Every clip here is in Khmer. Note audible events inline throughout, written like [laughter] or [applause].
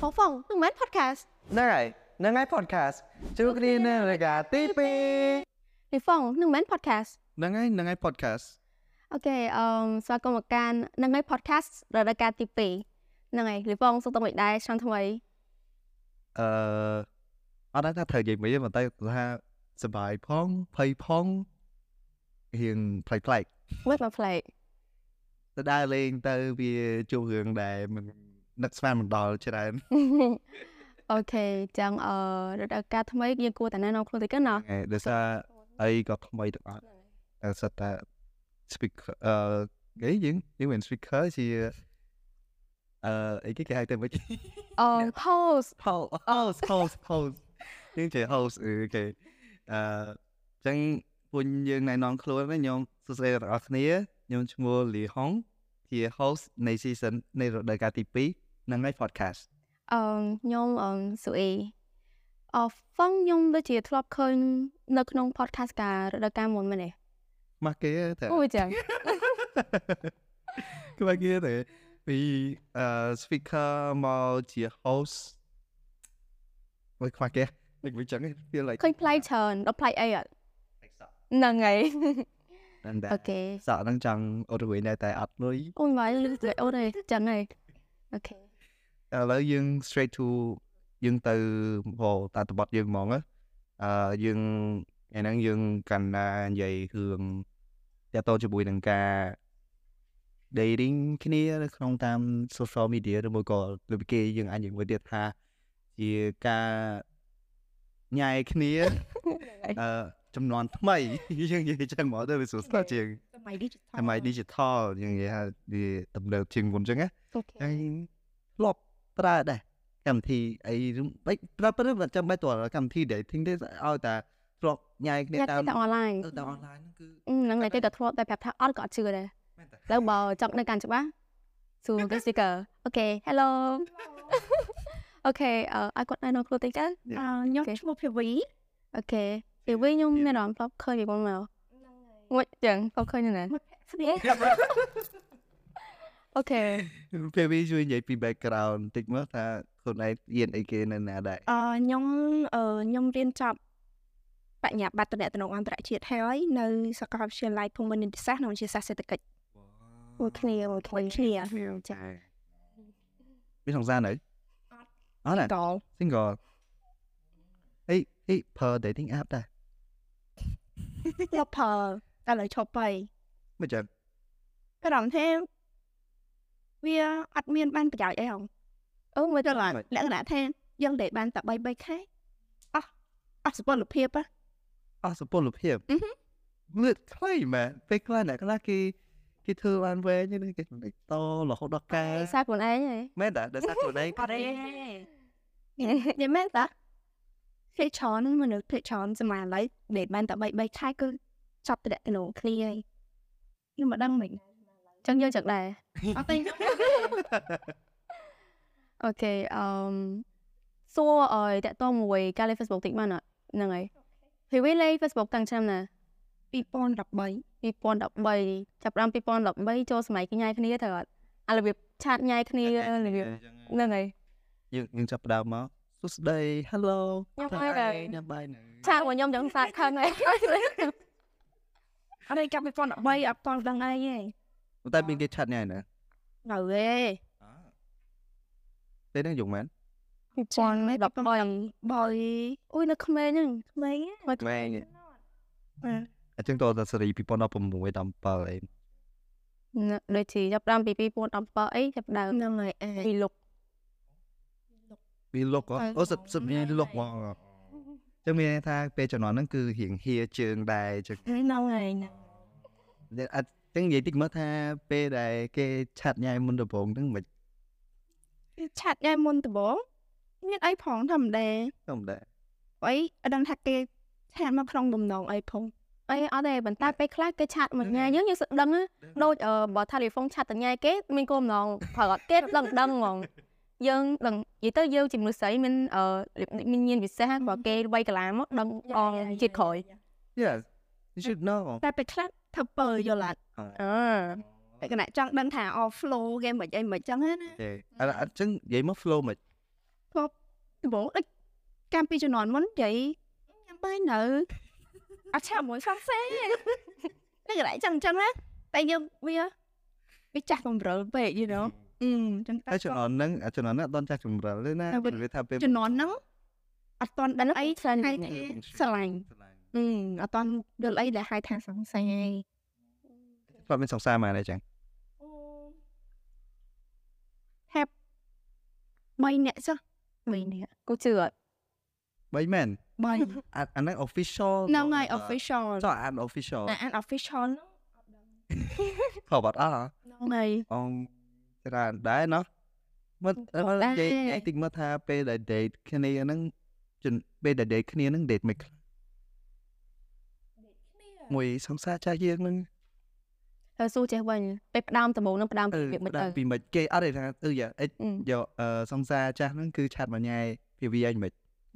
ของฟองหนึ่งแมนพอดแคสต์ ได้นังไงพอดแคสต์จุกรีเนรายการตีปี หรือฟองหนึ่งแมนพอดแคสต์ นังไงนังไงพอดแคสต์ โอเคเอ่อสวัสดีกับการนังไงพอดแคสต์รายการตีปีนังไงหรือฟองสตงอีกได้ช่างทำไม เอ่ออันนั้นถ้าเธอใหญ่ไม่ยังมาได้ฮะสบายพ้องเพลยพ้องเฮียงไพลไพล เว็บมาเพล [laughs] ย์ จะได้เลงเตอร์เบียจูเฮืองแดมันนักสแปมมันดอลใช่ไหม โอเคจังเอ่อรายการทำไมยังกลัวแต่แน่นอนครูติกันเนาะ ไงเดี๋ยวจะไอ้ก็ทำไมถึงอ่ะแต่สตาร์สปิกเอ่อไอ้ยังยังเหมือนสปิกเกอร์ที่เอ่อไอ้กี่แกให้เต็มไป เอ่อ host Pose, pose, pose, pose. Nhưng chỉ pose, ừ, ok. À, អឺចឹងពួកយើងណែនាំខ្លួនណាខ្ញុំសួស្តីដល់អ្នកគ្នាខ្ញុំឈ្មោះលីហុងជា host នៃ season នៃរដូវកាលទី2នឹងឯ podcast អឺខ្ញុំអឺស៊ូអេអឺហ្វងខ្ញុំដូចជាធ្លាប់ឃើញនៅក្នុង podcast ការរដូវកាលមុនមែនទេ មកគេតែ [laughs] អូចឹង គឺមកគេតែពីអឺ à, speaker មកជា host មកខ្វះគេនេះវាចឹង feel like ឃើញផ្លៃច្រើនដល់ផ្លៃអីអត់ហ្នឹងហើយ and អូ that ខេ សក់នឹងចង់អត់រួយតែអត់លុយ អូនមកលើអូនឯងចឹងហើយអូខេ ឥឡូវយើង straight to យើងទៅចូលតាតបត់យើងហ្មងណាអឺយើងថ្ងៃហ្នឹងយើងកាន់តែនិយាយរឿងតាក់ទងជាមួយនឹងការ dating គ្នានៅក្នុងតាម social media ឬមួយក៏លើពីគេយើងអាចនិយាយមួយទៀតថាជាការញ៉ែគ្នាអឺចំនួនថ្មី [laughs] យើងនិយាយចឹងហ្មងទៅវាស្រួលស្ដាប់ជាង សម័យ digital សម័យ digital យើងនិយាយថាវាទំនើបជាងមុនចឹងណា អូខេ អីធ្លាប់ប្រើដែរកម្មវិធីអីរំបិចប្រើប្រើមិនចាំបាច់ទៅកម្មវិធី dating ទេឲ្យតែធ្លាប់ញ៉ៃគ្នា ញ៉ាំ តាម តែអនឡាញ អឺតាម ừ, online ហ្នឹងហ្នឹងហើគឺយគេក៏ធ្លាប់តែប្រាប់ថាអត់ក៏អត់ជឿដែរ មែនតើ លើបើចង់នៅកាន់ច្បាស់ស៊ូគេ sticker អូខេ hello ờ, អូខេអឺឲ្យគាត់ណែនាំខ្លួនតិចទៅ អឺខ្ញុំឈ្មោះភីវី អូខេពេលវិញខ្ញុំមានអារម្មណ៍ផ្លប់ឃើញពីបងមកងួចចឹងផ្លប់ឃើញនៅណា ស្នេហ៍ អូខេ ពេលវាជួយនិយាយពី background បន្តិចមកថាខ្លួនឯងរៀនអីគេនៅណាដែរ អឺខ្ញុំអឺខ្ញុំរៀនចប់បញ្ញាបត្រតំណែងតំណងអន្តរជាតិហើយនៅសាកលវិទ្យាល័យភូមិន្ទនិតិសាស្ត្រក្នុងវិទ្យាសាស្ត្រសេដ្ឋកិច្ចមួយគ្នាមួយគ្នាគ្នាចា មានសង្សារនៅអត់អត់ណា តល single អីអីប្រើ dating app ដែរ យកផលតែឥឡូវឈប់ហើយ មិនចឹង ព្រមទេវាអត់មានបានប្រយោជន៍អីហង អូមើលទៅឡាន លក្ខណៈថាយើងដេកបានតែ3 3ខែអស់អស់សុពលភាពហ៎ អស់សុពលភាព អឺហឹ លឿនខ្លីមែនពេលខ្លះអ្នកខ្លះគេគេធ្វើបានវែងហ្នឹងគេតរហូតដល់កែ សារខ្លួនឯងហី [laughs] មែនតើដោយសារខ្លួនឯង [laughs] អត់ទេនិយាយមែន à? តើភាគច្រើនមនុស្សភាគច្រើនសម័យឥឡូវដេតបានតែ3 3ខែគឺចាប់តំណែងគ្នាហើយខ្ញុំមិនដឹងមិន ចឹងយើងចឹងដែរ អត់ទេ អូខេអឺមសួរឲ្យតាក់ទងមួយការលេង Facebook តិចបានអត់ហ្នឹងហើយពេលវិញលេង Facebook តាំងឆ្នាំណា 2013 2013ចាប់ដើម2013ចូលសម័យគេញ៉ាយគ្នាទៅអត់អារបៀបឆាតញ៉ាយ [laughs] គ្នារបៀបហ្នឹងហើយ យើងយើងចាប់ផ្ដើមមកសួស្ដី hello ញ៉ាំបាយហើយ ញ៉ាំបាយណា ឆាតរបស់ខ្ញុំចឹងសាកខឹង [laughs] ហើយ អត់ទេចាប់2013អត់តដឹងអីទេ ប៉ុន្តែមានគេឆាត់ញ៉ៃណា នៅទេ ពេលហ្នឹងយងមែន 2013 3 អូយនៅក្មេងហ្នឹង ក្មេងហ៎ ក្មេងអញ្ចឹងតោះតាសេរី2016 17អី ណាដូចជាចាប់ដើមពី2017អីចាប់ដើម ហ្នឹងហើយអេ ពីលោក វាលុកហ៎អូសិបសិបមានលុកហ្មងអញ្ចឹងមានន័យថាពេលជំនាន់ហ្នឹងគឺរៀងហៀជើងដែរអញ្ចឹង ហ្នឹងហើយហ្នឹង អត់ចឹងនិយាយតិចមើលថាពេលដែលគេឆាត់ញ៉ៃមុនដំបូងហ្នឹងមិន ឆាតញ៉ែមុនដំបងមានអីផងធម្មតា ធម្មតា អីអត់ដឹងថាគេឆាតមកក្នុងបំណងអីផង អីអត់ទេប៉ុន្តែពេលខ្លះគេឆាតមួយថ្ងៃយើងយើងសឹកដឹងណាដូចអឺបើថាលេហ្វុងឆាតតែថ្ងៃគេមានគោលបំណងប្រើអត់គេ [laughs] ដឹងដឹងហ្មងយើងដឹងនិយាយទៅយើងជាមនុស្សស្រីមានអឺមានញាណវិ [laughs] សេសបើគេវ័យកន្លាមកដឹងអងជាតិក្រោយ yes you should know តែពេលខ្លះថាពើយល់អត់ អឺ តែគណៈចង់ដឹងថា all flow គេមិនអីមិនចឹងណា ទេអត់អញ្ចឹងនិយាយមក flow មិន ក៏ដំបូងដូចកាលពីជំនាន់មុននិយាយញ៉ាំបាយនៅអត់ឆាប់មួយសងសេ [laughs] នេះកន្លែងចឹងចឹងណាតែយើងវាវាចាស់កម្រិលពេក you know អឺចឹងតែ ហើយជំនាន់ហ្នឹងអាជំនាន់ហ្នឹងអត់ដល់ចាស់ចម្រិលទេណា តែវា និយាយថាពេល ជំនាន់ហ្នឹងអត់ទាន់ដឹងអីឆ្លាញ់ហៅថាស្រឡាញ់ ឆ្លាញ់ អឺអត់ទាន់ដឹងអីដែលហៅថាសង្ស័យ គាត់មានសង្សារមកអីចឹង 3នាក់ចុះ3នាក់ cô chưa ạ? បីមែន 3 អាអាហ្នឹង official ហ្នឹងហើយ Ờ. official ចុះអា official តែអាន official ហ្ ខុសបាត់អស់ហ៎ នឹងហ្នឹងហើយ អងច្រើនដែរណោះមើល [laughs] ក៏ មើល ដែ និ រ យាយឯងតិចមើលថាពេលដែល date គ្នាហ្នឹងជិនពេលដែល date គ្នាហ្នឹង date មិនខ្លះមួយសង្សារចាស់យើងហ្នឹង [laughs] Ờ, xu chơi bình Bếp đam tầm bốn năm đam អឺ việc mình ដាក់ ờ ពីមិនគេអត់ទេថាអឺយ៉ាអិច Ừ, យកអឺសង្សារចាស់ហ្នឹងគឺឆាត់មួយញ៉ែពីវាយ៉ាងមិន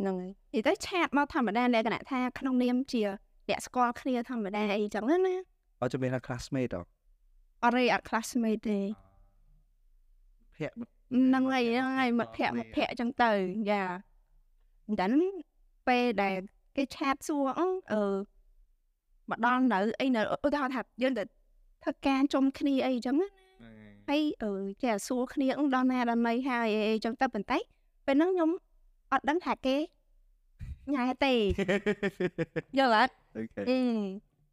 nâng ấy និយាយទៅឆាតមកធម្មតាលក្ខណៈថាក្នុងនាមជាអ្នកស្គាល់គ្នាធម្មតាអីចឹងហ្នឹងណា អត់ចាំមានថា classmate ហ៎ អត់រីអត់ classmate ទេ ភ័ក្រ ហ្នឹងហើយហ្នឹង [laughs] ហើយមិត្តភ័ក្តិមិត្តភ័ក្តិចឹងទៅយ៉ាតែហ្នឹងពេលដែលគេឆាតសួរអឺអឺមកដល់នៅអីនៅឧទាហរណ៍ថាយើងទៅធ្វើការជុំគ្នាអីចឹងណា ហើយអឺចេះសួរគ្នាអឹងដល់ណាដល់ណីហើយអីអីចឹងទៅប៉ុន្តែពេលហ្នឹងខ្ញុំអត់ដឹងថាគេញ៉ែ [laughs] ទេ យល់អត់ អូខេ អឺ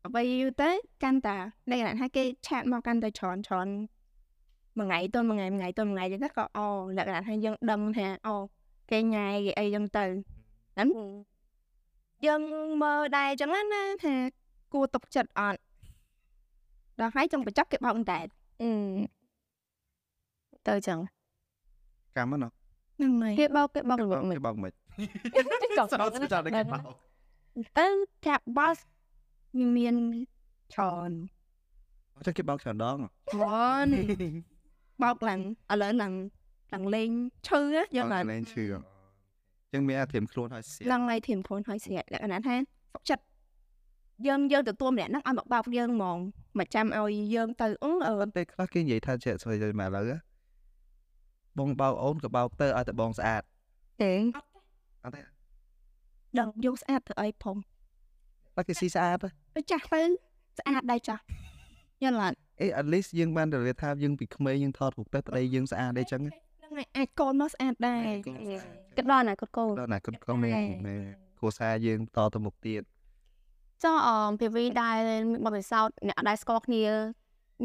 អ្វីយូរទៅកាន់តាលក្ខណៈថាគេឆាតមកកាន់តែច្រើនច្រើនមួយថ្ងៃទៅមួយថ្ងៃ [laughs] មួយថ្ងៃទៅមួយថ្ងៃចឹងទៅក៏អូលក្ខណៈថាយើងដឹងថាអូគេញ៉ែគេអីចឹងទៅហ្នឹងយើងមើលដែរចឹងណាណាថាគួរຕົកចិត្តអត់ដល់ហើយចង់បញ្ចប់គេបោកតែ Ừ Tớ chẳng កម្មហ្នឹង ហ្នឹងហើយ Cái bao cái bao [laughs] của mình គេបោកមិន Cái cọc សោត nó ចោលតែគេ đâm. បោក ទៅចាប់ boss វាមានច្រើន ចុះគេបោកច្រើនដងហ៎ ច្រើនបោកឡើងឥឡូវឡើងឡើងលេងឈឺណាយើងឡើង អត់លែងឈឺអញ្ចឹងមានអាធៀមខ្លួនហើយសៀ ឡើងឡើងធៀមខ្លួនហើយស្រាកលក្ខណៈថាសុខចិត្តយើងយើងទទួលម្នាក់ហ្នឹងឲ្យមកបោកយើងហ្មងមកចាំឲ្យយើងទៅអឺអឺ ប៉ុន្តែខ្លះគេនិយាយថាជាក់ស្ដែងមកឥឡូវហ៎បងបោកអូនក៏បោកទៅឲ្យតែបងស្អាត Thế អត់ទេ ដឹងយើងស្អាតធ្វើអីផង តែគេស៊ីស្អាតហ៎ ទៅចាស់ទៅស្អាតដែរចាស់យល់អត់ អេ at least យើងបានរលាថាយើងពីក្មេងយើងថតរូបទៅប្តីយើងស្អាតអីចឹង ហ្នឹងហើយអាចកូនមកស្អាតដែរ Cái đó này cột cô ដល់ណាគុណកងមែនមែនគ្រួសារយើងតទៅមុខទៀត ចុះអមពីវីដែលមានបទពិសោធន៍អ្នកដែលស្គាល់គ្នា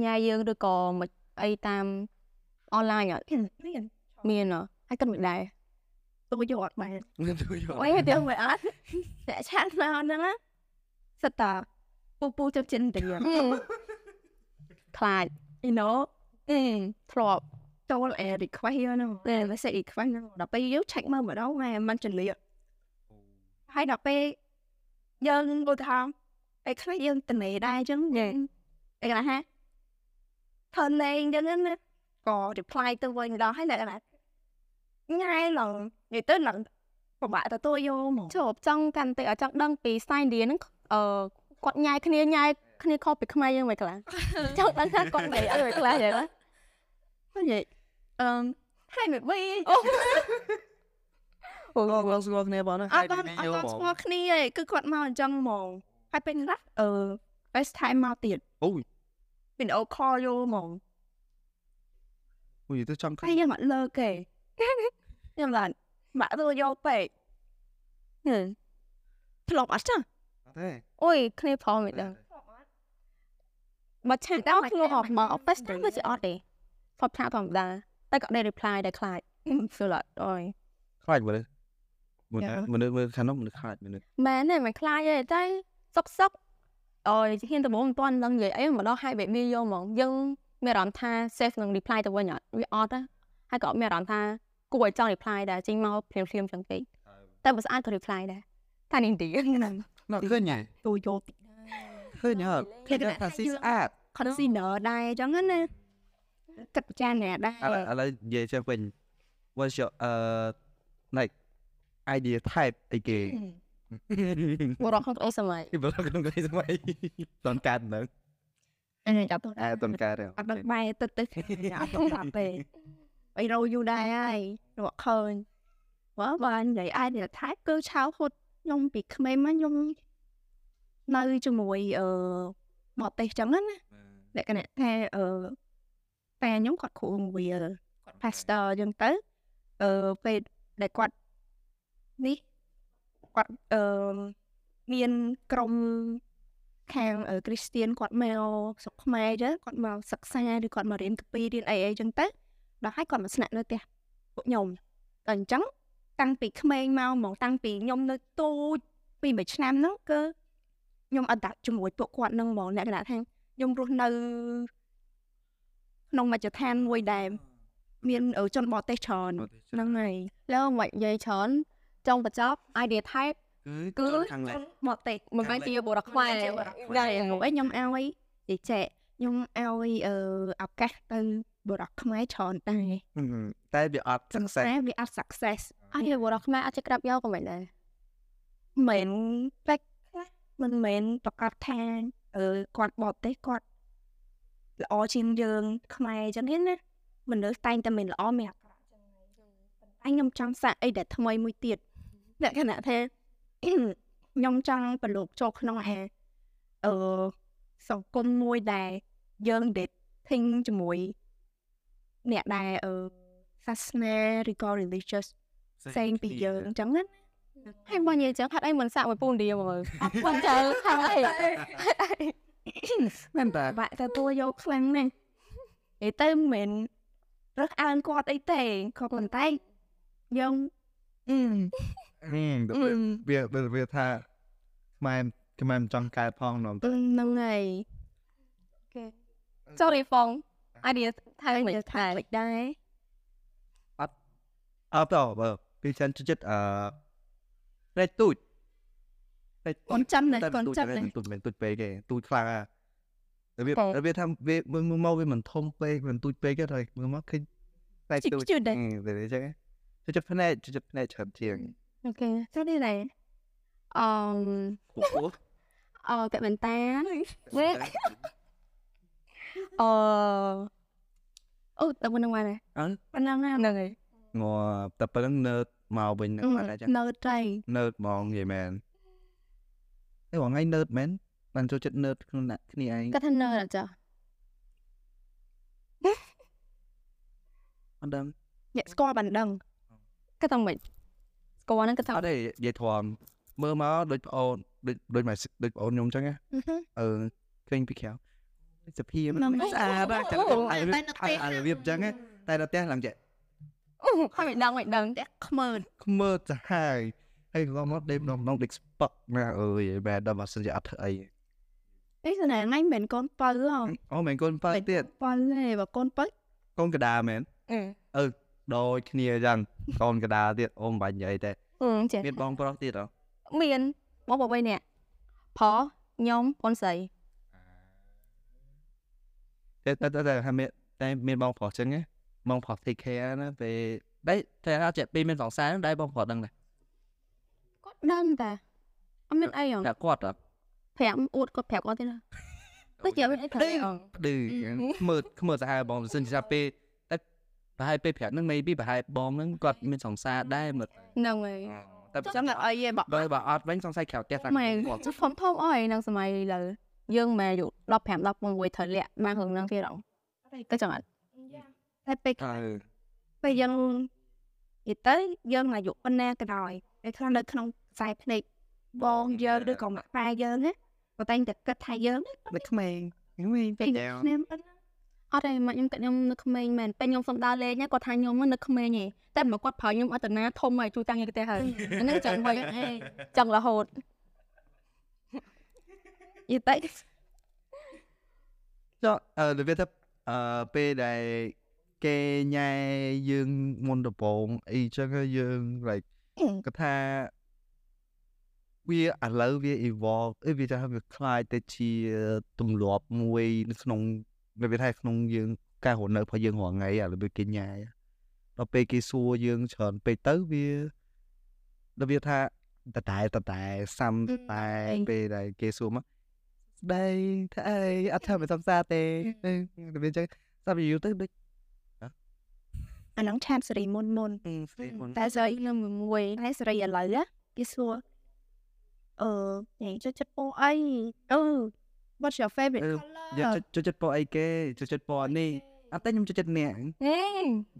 ញ៉ាយយើងឬក៏មិនអីតាមអនឡាញអត់ មាន មានហ៎ហើយគិតមិនដែរ តូចយកអត់បាន អូយទៅ ទៅមិនអត់អ្នកឆាតមកហ្នឹងណាសិតតាពូពូចាប់ចិនតាយើង ខ្លាច you know អឺធ្លាប់ ចូលអេ request យើងហ្នឹងតែ message request ហ្នឹងដល់ពេលយើង check មើលម្ដងហែມັນចលាហើយដល់ពេលយើងឧទាហរណ៍ពេលខ្លះយើងត្នេដែរអញ្ចឹងយើងឯកណាហ่าធ្វើលេងអញ្ចឹងណាក៏ reply ទៅវិញដល់ហើយអ្នកណាញ៉ៃឡងនិយាយទៅឡងពិបាកទទួលយកហ្មង ជួបចង់កាន់តែឲ្យចង់ដឹងពីស្ទាយឥណ្ឌាហ្នឹងអឺគាត់ញ៉ាយគ្នាញ៉ាយគ្នាខុសពីខ្មែរយើងមិន [laughs] ខ្លះចង់ដឹងថាគាត់និយាយអីមិនខ្លះយ៉ាងណា និយាយអឺហើយមិនវិញ អូបងស្គាល់គ្នាបងណា អត់បានអត់បានស្គាល់គ្នាទេគឺគាត់មកអញ្ចឹងហ្មងហើយពេលខ្លះអឺ FaceTime មកទៀត អូយ វីដេអូ call យកហ្មង អូយទៅចង់ ហើយយើងអត់លើកទេខ្ញុំឡានបាក់ទៅយកពេក ហឹម ធ្លាប់អត់ចាស់ ទេ អូយគ្នាផងមិនដឹង [laughs] បើឆាតដល់ខ្លួនអត់មក FaceTime គឺជាអត់ទេផតឆាតធម្មតាតែក៏ដែរ reply ដែរខ្លាច [laughs] ស្លាត់អូយ ខ្លាចមើលមនុស្សមនុស្សមើលខាងនោះមនុស្សខ្លាចមនុស្ស មែនទេមិនខ្លាចទេតែសុកសុកអើយហ៊ានដំបងមិនទាន់ដឹងនិយាយអីមកដល់ហើយបែបនេះយកហ្មងយើងមានអារម្មណ៍ថា save នឹង reply ទៅវិញអត់វាអត់ណាហើយក៏អត់មានអារម្មណ៍ថាគួរឲ្យចង់ reply ដែរចេញមកភ្លាមភ្លាមៗចឹងពេកតែបើស្អាតក៏ reply ដែរតែនេះទីហ្នឹង ណ៎ឃើញហ៎ ទូយកពី ឃើញហ៎គេថាស៊ីស្អាត consider ដែរអញ្ចឹងណាគិតពិចារណាដែរ ឥឡូវឥឡូវនិយាយចេះវិញ what's your uh like idea type អីគេ [laughs] បរោះក្នុងអូសម័យ ពីបើក្នុងគេស្មៃតនកាត់នៅ អានេះចាប់ទៅ អែតនកាត់ទេ អត់ដឹងបែរទឹកទឹកអត់ដឹងបាត់ទេអីរោយូរដែរហើយរកឃើញ ព្រោះបើនិយាយអាយនិយាយថាគឺឆៅហូតខ្ញុំពីក្មេងមកខ្ញុំនៅជាមួយអឺមកទេសចឹងណាលក្ខណៈថាអឺតែខ្ញុំគាត់គ្រូបង្រៀន pastor ចឹងទៅអឺពេលដែលគាត់នេះគាត់អឺមានក្រុមខាងគ្រីស្ទៀនគាត់មកស្រុកខ្មែរចឹងគាត់មកសិក្សាឬគាត់មករៀនកាពីរៀនអីអីចឹងទៅដល់ហើយគាត់មកស្នាក់នៅផ្ទះពួកខ្ញុំតែអញ្ចឹងតាំងពីក្មេងមកហ្មងតាំងពីខ្ញុំនៅទូចពីមួយឆ្នាំហ្នឹងគឺខ្ញុំអត់ដាក់ជាមួយពួកគាត់ហ្នឹងហ្មងលក្ខណៈថាខ្ញុំរស់នៅក្នុងមជ្ឈដ្ឋានមួយដែលមានជនបរទេសច្រើនហ្នឹងហើយ លើមកនិយាយច្រើនចុងបញ្ចប់ idea type គឺ គឺ ខាងលិច ជនបរទេសមិនមែនជាបុរសខ្មែរ មិនមែនជាបុរសខ្មែរ ដែរ ហ្នឹងហើយខ្ញុំឲ្យនិយាយខ្ញុំឲ្យអឺឱកាសទៅបរិបខ្មែរច្រើនដែរ តែវាអត់ success តែវាអត់ success អត់ជាបុរសខ្មែរអត់ចេះក្រាប់យកក៏មិនដែរ មិនតែខ្លះមិនមែនប្រកាសថាអឺគាត់បរទេសគាត់ល្អជាងយើងខ្មែរអញ្ចឹងទេណាមនុស្សតែងតែមានល្អមានអាក្រក់អញ្ចឹងហើយប៉ុន្តែខ្ញុំចង់សាកអីដែលថ្មីមួយទៀតលក្ខណៈថា ខ្ញុំចង់ប្រឡូកចូលក្នុងអាអឺសង្គមមួយដែលយើងដែល thing ជាមួយអ្នកដែលអឺសាសនាឬក៏ religious ផ្សេងពីយើងអញ្ចឹងណា ហើយបងនិយាយចឹងហេតុអីមិនសាក់មួយពូនឌីមកមើលអត់បងចើហេតុអី [laughs] មែនតើ បាក់ទទួលយកខ្លាំងណាស់និយាយទៅមិនមែនរើសអើងគាត់អីទេក៏ប៉ុន្តែយើងអឺ ហឹមវាវាវាថាខ្មែរខ្មែរមិនចង់កើតផងនំ ពឹងហ្នឹងហើយ ចូលរីហ្វង idea type មិនថា មិនដែរ អត់ទៅបើពីចិនចិត្តអឺរែកទូចរែក កូនចាំណាស់ តែ កូន ទូច ចាំ រែ ណាស់ កទូចមិនមែនទូចពេកទេទូចខ្លាំងអារបៀបរបៀបថាវាមើលមកវាមិនធំពេកមិនទូចពេកទេហើយមើលមកឃើញតែ ជី ទូច កជឿដែរ ហឹមវាអញ្ចឹងចូលចិត្តភ្នែកចូលចិត្តភ្នែកច្រើនជាង អូខេចូលនេះដែរអឺ អូអូ អពាក់មិនតា វេ អ Ờ, អូតើមិនដឹងមកណា អត់ ប៉ុណ្ណឹងណាហ្នឹងហើយ ងតែប៉ុណ្្នឹងនៅមកវិញហ្នឹងអត់ដែរចឹង នៅត្រៃ nerd ហ្មងនិយាយមែនតែបងឯង nerd មែនបានចូលចិត្ត nerd ខ្លួនអ្នកគ្នាឯង គាត់ថានៅអត់ចា អត់ដឹង អ្នកស្គាល់បានដឹង គាត់ថាមិនស្គាល់ហ្នឹងគាត់ថា អត់ទេនិយាយធំមើលមកដូចប្អូនដូចដូចមកដូចប្អូនខ្ញុំអញ្ចឹងណាអឺឃើញពីក្រៅសភាម ហ្នឹង នស្អាតដែរចឹងអារបៀបអារបៀបអញ្ចឹងណាតែដល់ផ្ទះឡើងចេះ [laughs] អូហើយមិនដឹងមិនដឹង តែខ្មើត ខ្មើសាហាយហើយឡងមកដេកដងដងដេកស្ពឹកណាអើយបែរដល់មកសិនជាអត់ធ្វើអី អីស្នេហ៍ហ្នឹងមិនកូនបើហ៎ អូមែនកូនបើទៀត បើទេបើកូនបើ កូនកដាមែនដូចគ្នាអញ្ចឹងកូនកដាទៀតអូមិនបាញ់និយាយទេ អឺចេះ មានបងប្រុសទៀតអ មានបងប្អូន3នាក់ផលខ្ញុំបងស្រី តែតែតែតែហាមានតែមានបងប្រុសចឹងណាបងប្រុស take care ណាពេលតែតែអាចពេលមានសង្សារហ្នឹងដែរបងប្រុសដឹងដែរ គាត់ដឹងតាអត់មានអីហ៎ តែគាត់ ប្រាប់អួតគាត់ប្រាប់គាត់ទេណាទៅជាមានអីប្រាប់អង ប្ឌឺខ្មើ [laughs] ខ្មើសាហាវបងមិនសិនជាថាពេលតែប្រហែលពេលប្រាប់ហ្នឹង maybe ប្រហែលបងហ្នឹងគាត់មានសង្សារដែរមើល ហ្នឹងហើយ តែ អញ្ចឹងអីឯងបើ បើបើអត់វិញសង្ស័យក្រៅផ្ទះតែ ម៉ែ គាត់ ជុំធំធំអស់ហើយហ្នឹងសម័យឥឡូវយើងម៉ែអាយុ15 16ត្រូវលាក់បានរឿងហ្នឹងទៀតអងទៅចង្អត់ តែពេល អឺ ពេលយើងនិយាយទៅយើងអាយុប៉ុណ្ណាក៏ដោយពេលខ្លះនៅក្នុងខ្សែភ្នែកបងយើងឬក៏ម៉ាក់ប៉ាយើងណាបើតែងតែគិតថាយើង តែក្មេងវិញ ពេ ពេ ក ក ខ្ញុំប៉ុណ្ណា អត់ទេមកខ្ញុំគិតខ្ញុំនៅក្មេងមែនពេលខ្ញុំសំដៅលេងហ្នឹងគាត់ថាខ្ញុំហ្នឹងនៅក្មេងឯងតែមកគាត់ប្រើខ្ញុំអត្តនាធំហើយជួយតាំងយកទេ [laughs] ហើយអាហ្នឹងចឹងវិញឯងចឹងរហូត និយាយទៅ ចុះអឺរបៀបថាអឺពេលដែលគេញ៉ែយើងមុនដំបូងអីចឹងហើយយើង like គាត់ថាវាឥឡូវវា evolve អីវាថាវាคล้ายទៅជាទម្លាប់មួយនៅក្នុងរបៀបថាក្នុងយើងការរស់នៅរបស់យើងរាល់ថ្ងៃអារបៀបគេញ៉ាយដល់ពេលគេសួរយើងច្រើនពេកទៅវារបៀបថាតតែតតែសាំតែពេលដែលគេសួរមកស្ដីថាអីអត់ធ្វើមិនសំសាទេរបៀបចឹងសាប់យូរទៅដូច អាហ្នឹងឆាតសេរីមុនមុន ស្រីមុន តែសេរី លើមួយ តែសេរីឥឡូវណាគេសួរអឺអ្នកចូលចិត្តពណ៌អីអឺ what's your favorite អឺ color យកចូលចិត្តពណ៌អីគេចូលចិត្តពណ៌នេះអត់តែខ្ញុំចូលចិត្តអ្នក ហេ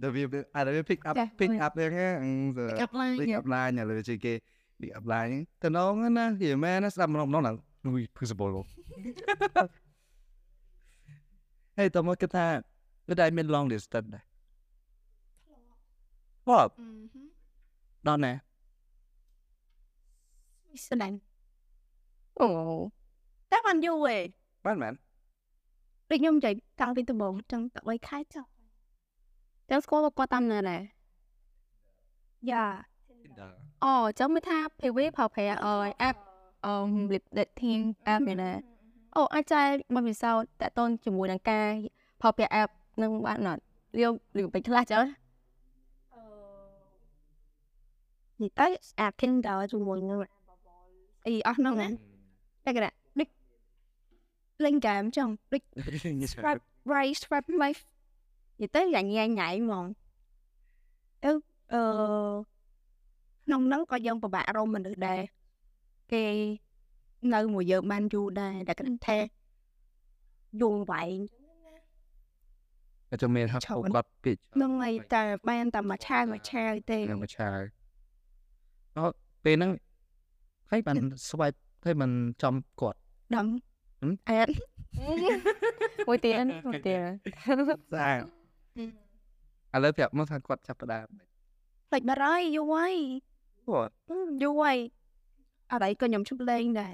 ដល់វាអាដល់វា pick up ចា pick up ហ្នឹងណាអឺ up line pick up line ឥឡូវជាគេ pick up line ហ្នឹងទៅនងហ្នឹងណាយីមែនណាស្ដាប់ម្ដងម្ដងណាលុយ possible [laughs] ហេតើមកគិតថាវាដែរមាន long distance ដែរបបដល់ណា ស្ដាប់ អូ តែបានយូរហេ បានមែន ដូចខ្ញុំនិយាយតាំងពីដំបូងចឹងតែ3ខែចុះ ទាំងស្គាល់មកគាត់តាមណាដែរ យ៉ា [laughs] អូចាំមើលថា PV ប្រើប្រាស់អឺ app អឺ lip dating app មានណាអូអាចចែកបទពិសោធន៍តាក់ទងជាមួយនឹងការប្រើប្រាស់ app នឹងបានអត់រៀបឬបិទខ្លះចឹង និយាយទៅអា Kindle ជាមួយនឹងអីអស់ហ្នឹងណាតែគេដូចលេងហ្គេមចឹងដូច Subscribe. Ray Strap Life thì tới là nhai nhảy mà ừ, ờ, nông nắng có dân và bà rô mình được đề cái nơi mùa giờ man du đề đã cái thề dù vậy ចាំមែនហៅគាត់ pitch nông này ta ban ta mà cha mà cha thì នឹងមកឆាវអត់ពេលហ្នឹងហើយបាន swipe ហើយមិនចំគាត់ đậm Ừ. ẹt មួយទៀតមួយទៀត ស្អាតឥឡូវប្រាប់មកថាគាត់ចាប់ផ្ដើម lịch bà rồi vô quay គាត់ vô quay ở đây có nhầm chút lên đề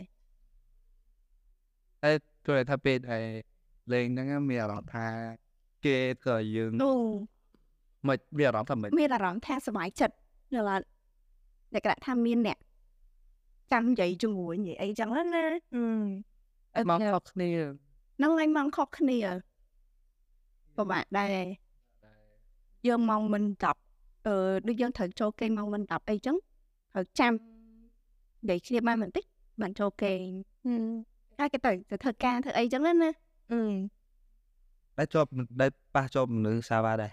ហើយទោះតែថាពេលឯលេងហ្នឹងមានអារម្មណ៍ថាគេក៏យើង đù មិនមានអារម្មណ៍ថាមិន មានអារម្មណ៍ថាសុបាយចិត្តនៅឡើយតែគេថាមានអ្នកចាំនិយាយជាមួយនិយាយអីចឹងណាណា អត់មកខកគ្នា ហ្នឹងហើយមកខុសគ្នាពិបាកដែរយើងមកមិនចាប់អឺដូចយើងត្រូវចូលគេងមកមិនចាប់អីចឹងត្រូវចាំនិយាយគ្នាបានបន្តិចបានចូលគេងហើយគេទៅទៅធ្វើការធ្វើអីចឹងណាណា តែជាប់ដែលប៉ះជាប់មនុស្សសាវ៉ាដែរ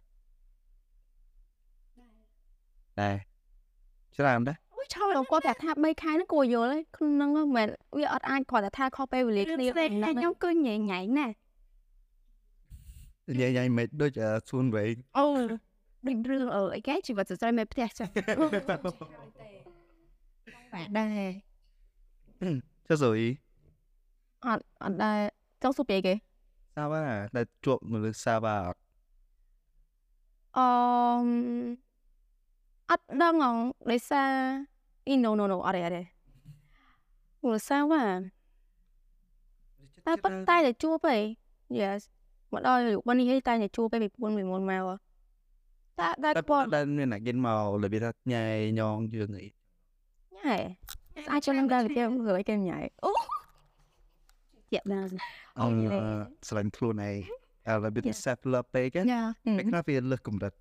ដែរច្រើនដែរ អូយឆោត ខ្ញុំគាត់តែថា3ខែហ្នឹងគួរយល់ឯងក្នុងហ្នឹងមិនវាអត់អាចគ្រាន់តែថាខុសពេលវេលា គ្នា គ្នា ផ្សេងតែខ្ញុំគឺញ៉ៃញ៉ៃណា និយាយយ៉ាងមិនដូចអឺសួនវែ [laughs] ង អូដូចរឿងអឺអីគេជីវិតសរសៃមេផ្ទះចឹងបាទដែរ ចុះស៊ូអ៊ី អត់អត់ដែរចង់សួរពីអីគេ សាវ៉ាដែលជាប់មនុស្សសាវ៉ាអត់ អមអត់ដឹងហងដោយសារអ៊ី no no no អត់ទេអត់ទេព្រោះសារវ៉ាតែប៉ុន្តែតែជួបឯង yes មកដល់យុបនេះឯងតែតែជួបឯងពីពួនពីមុនមកតែតែ តែប៉ុ ប៉ុន ន្តែមានអ្នកគេមករបៀបថាញ៉ៃញងជើងអី ញ៉ែស្អាតចូលនឹងដែរវាគេគេញ៉ែអូ ជាក់បាន អងស្លាញ់ខ្លួនឯងអឺរបៀប self love ពេក យ៉ា តែខ្លះវាលើសកម្រិត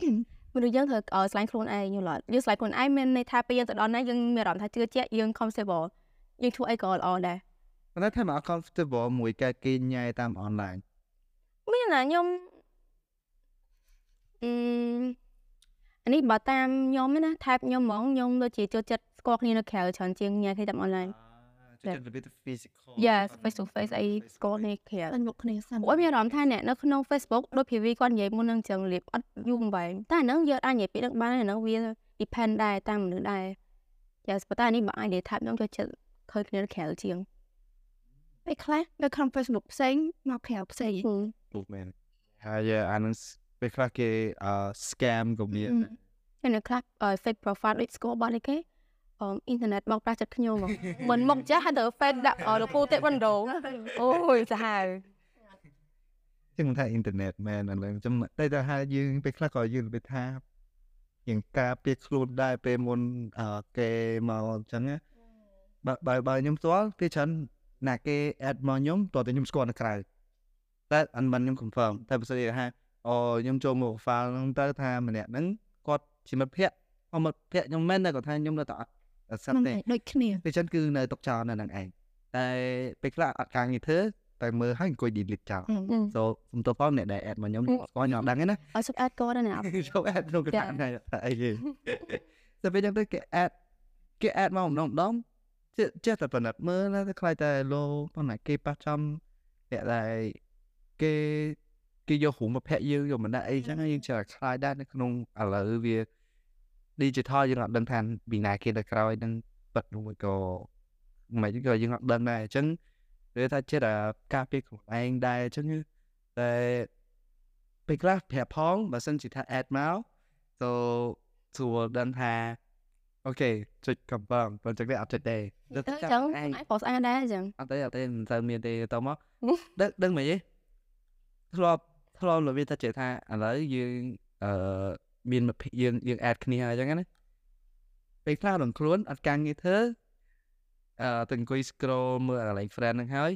មនុស្សយើងត្រូវឲ្យស្លាញ់ខ្លួនឯងយល់អត់យើងស្លាញ់ខ្លួនឯងមានន័យថាពេលយើងទៅដល់ណាយើងមានអារម្មណ៍ថាជឿជាក់យើង comfortable យើងធ្វើអីក៏ល្អដែរ ប៉ុន្តែថាមក comfortable មួយការគេញ៉ៃតាម online មានណាខ្ញុំអឺអានេះបើតាមខ្ញុំណាថែបខ្ញុំហ្មងខ្ញុំដូចជាចូលចិត្តស្គាល់គ្នានៅក្រៅច្រើនជាងញ៉ាយគ្នាតាមអនឡាញ ចូលចិត្តរបៀប physical Yes face to face អីស្គាល់គ្នាក្រៅ អត់មុខគ្នាសិន អូមានអារម្មណ៍ថាអ្នកនៅក្នុង Facebook ដូច PV គាត់និយាយមុននឹងចឹងលៀបអត់យូរមិនបែងតែអាហ្នឹងយើងអាចនិយាយពីនឹងបានអាហ្នឹងវា depend ដែរតាមមនុស្សដែរ Yes ប៉ុន្តែអានេះបើអាចនិយាយថែបខ្ញុំចូលចិត្តឃើញគ្នានៅក្រៅជាង ពេលខ្លះនៅក្នុង Facebook ផ្សេងមកក្រៅផ្សេង move man ហើយអានឹងពេលខ្លះគេអឺ scam ក៏មាន អឺ ហើយនៅខ្លះអឺ fake profile ដូចស្គាល់បាត់អីគេអមអ៊ីនធឺណិតបោកប្រាស់ចិត្តខ្ញុំហ្មង មិនមកចាស់ហើយទៅ fake ដាក់អឺលពូទេបណ្ដងអូយសាហាវ ជាងថា internet man ឥឡូវចាំតែថាហើយយើងពេលខ្លះក៏យើងរបៀបថាយើងការពារខ្លួនដែរពេលមុនអឺគេមកអញ្ចឹងណាបើបើបើខ្ញុំស្គាល់គេច្រើនណាគេ add មកខ្ញុំតោះតែខ្ញុំស្គាល់នៅក្រៅតែអនមិនខ្ញុំ confirm តែបើសិនជាថាអូខ្ញុំចូលមក profile ហ្នឹងទៅថាម្នាក់ហ្នឹងគាត់ជាមិត្តភក្តិអត់មិត្តភក្តិខ្ញុំមែនតែគាត់ថាខ្ញុំនៅតែអត់អត់ស្គាល់ហ្នឹង ទេ ហើយដូចគ្នា ពេលចឹងគឺនៅទុកចោលនៅនឹងឯងតែពេលខ្លះអត់ការងារធ្វើ តែមើលហើយអង្គុយ delete ចោល so សំទោសផងអ្នកដែល add មកខ្ញុំ អឺ ស្គាល់ខ្ញុំអត់ដឹងទេណាឲ្យ [laughs] សុខអត់ក៏ដែរណា ចូល add ក្នុងកណ្ដាលហ្នឹងថាអីគេ [laughs] តែពេលខ្ញុំទៅគេ add គេ add មកម្ដងម្ដងចេះចេះតែបណ្ឌិតមើលណាទៅខ្លាចតែលោប៉ុន្តែគេប៉ះចំអ្នកដែលគេគេយករូបមកភ័ក្រយើងយកមកដាក់អីចឹងហើយយើងចេះតែខ្លាចដែរនៅក្នុងឥឡូវវា digital យើងអត់ដឹងថាពីណាគេទៅក្រោយហ្នឹងប៉ិតនោះមួយក៏មិនក៏យើងអត់ដឹងដែរអញ្ចឹងវាថាចេះតែការពារខ្លួនឯងដែរអញ្ចឹងតែពេលខ្លះប្រាប់ផងបើសិនជាថា add មក so ចូលដឹងថាអូខេចុចកំបងបើចុចវាអត់ចុចទេ ទៅ ទៅ ចឹងឯងប្រុសស្អាតដែរចឹង អត់ទេអត់ទេមិនទៅមាន [laughs] ទេទៅមក ហឹម ដឹងដឹងមិនទេធ្លាប់ធ្លាប់របៀបថាចេះថាឥឡូវយើងអឺមានមិត្តភក្តិយើងយើង add គ្នាហើយអញ្ចឹងណាពេលខ្លះរំខ្លួនអត់ការងារធ្វើអឺទៅអង្គុយ scroll មើលកន្លែង friend ហ្នឹងហើយ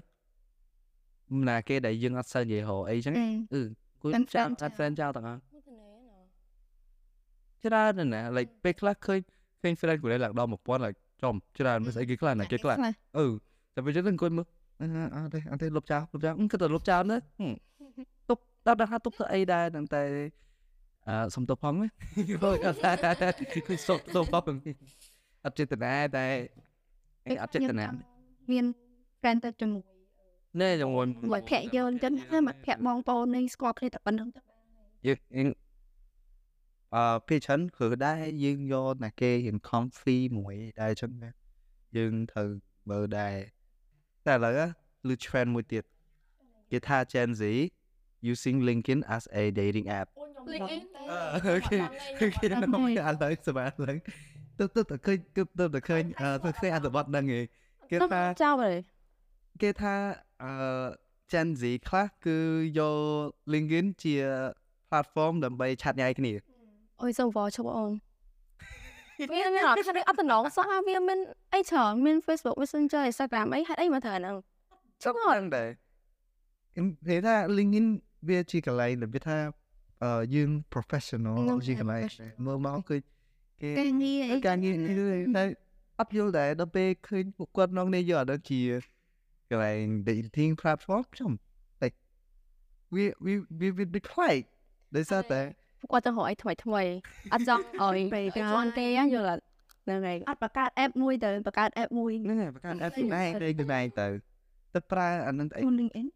ណាគេដែលយើងអត់សូវនិយាយរកអីអញ្ចឹង គួយ កាន់ ចាំ friend ចោល ចាត់ហ្វេនចោលទាំងអស់ច្រើនណាស់ណា like ពេលខ្លះឃើញឃើញ friend គាត់ឡើងដល់1000 like ចំច្រើនមិនស្អីគេខ្លះណា [laughs] គេខ្លះអឺតែពេលចឹងទៅអង្គុយមើលអឺអត់ទេអត់ទេលុបចោលលុបចោលអឺគិតតែលុបចោលណាហឹមទុកដល់ដល់ថាទុកធ្វើអីដែរតែតែអឺសុំទោសផង [laughs] ណាអត់ [laughs] តែគឺសុំទោសផងអត់ចេតនាតែអីអត់ចេតនា មាន friend ទៅជាមួយ ណែយ៉ាងមួយ មិត្តភក្តិយើងចឹងណាមិត្តភក្តិបងប្អូននេះស្គាល់គ្នាតែប៉ុណ្្នឹងទៅ យើងអឺពីច្រើនគឺដែរយើងយកណាគេហ៊ាន comfy មួយដែរចឹងណា យើងត្រូវមើលដែរតែឥឡូវហ៎ឬ trend មួយទៀតគេថា Gen Z using LinkedIn as a dating app [laughs] អូខេអូខេដល់មកឥឡូវសប្បាយឥឡូវទៅទៅតែឃើញទៅទៅតែឃើញអឺទៅឃើញអត្ថបទហ្នឹងឯងគេថា ចោលហើយ គេថាអឺ Gen Z ខ្លះគឺយក LinkedIn ជា platform ដើម្បីឆាត់ញ៉ៃគ្នា អូយសូមវល់ឈប់អូន [laughs] វាមានអត់ថាអត់តំណងសោះហើយវាមានអីច្រើនមាន Facebook Messenger Instagram អីហេតុអីមកត្រូវអាហ្នឹង ចង់ហ្នឹងដែរគេថា LinkedIn វាជាកន្លែងដែលវាថាអឺយើង professional ហ្នឹង ជាកន្លែង professional មើលមកគឺគេ គេងាយ ការងារនេះគឺតែអត់យល់ដែរដល់ពេលឃើញពួកគាត់ក្នុងនេះយកអត់ដឹងជាកន្លែង dating platform ខ្ញុំតែវាវាវាវា decline ដោយសារតែ ពួកគាត់ទៅរកអីថ្មីថ្មីអត់ចង់ឲ្យ ពេលក្រោយ ជន់ទេណាយល់អត់ហ្នឹងហើយ អត់បង្កើត app មួយទៅបង្កើត app មួយ ហ្នឹងហើយប្រកាន់ app ខ្លួនឯងទៅខ្លួនឯងទៅទៅប្រើអាហ្នឹងទៅអី ខ្លួន LinkedIn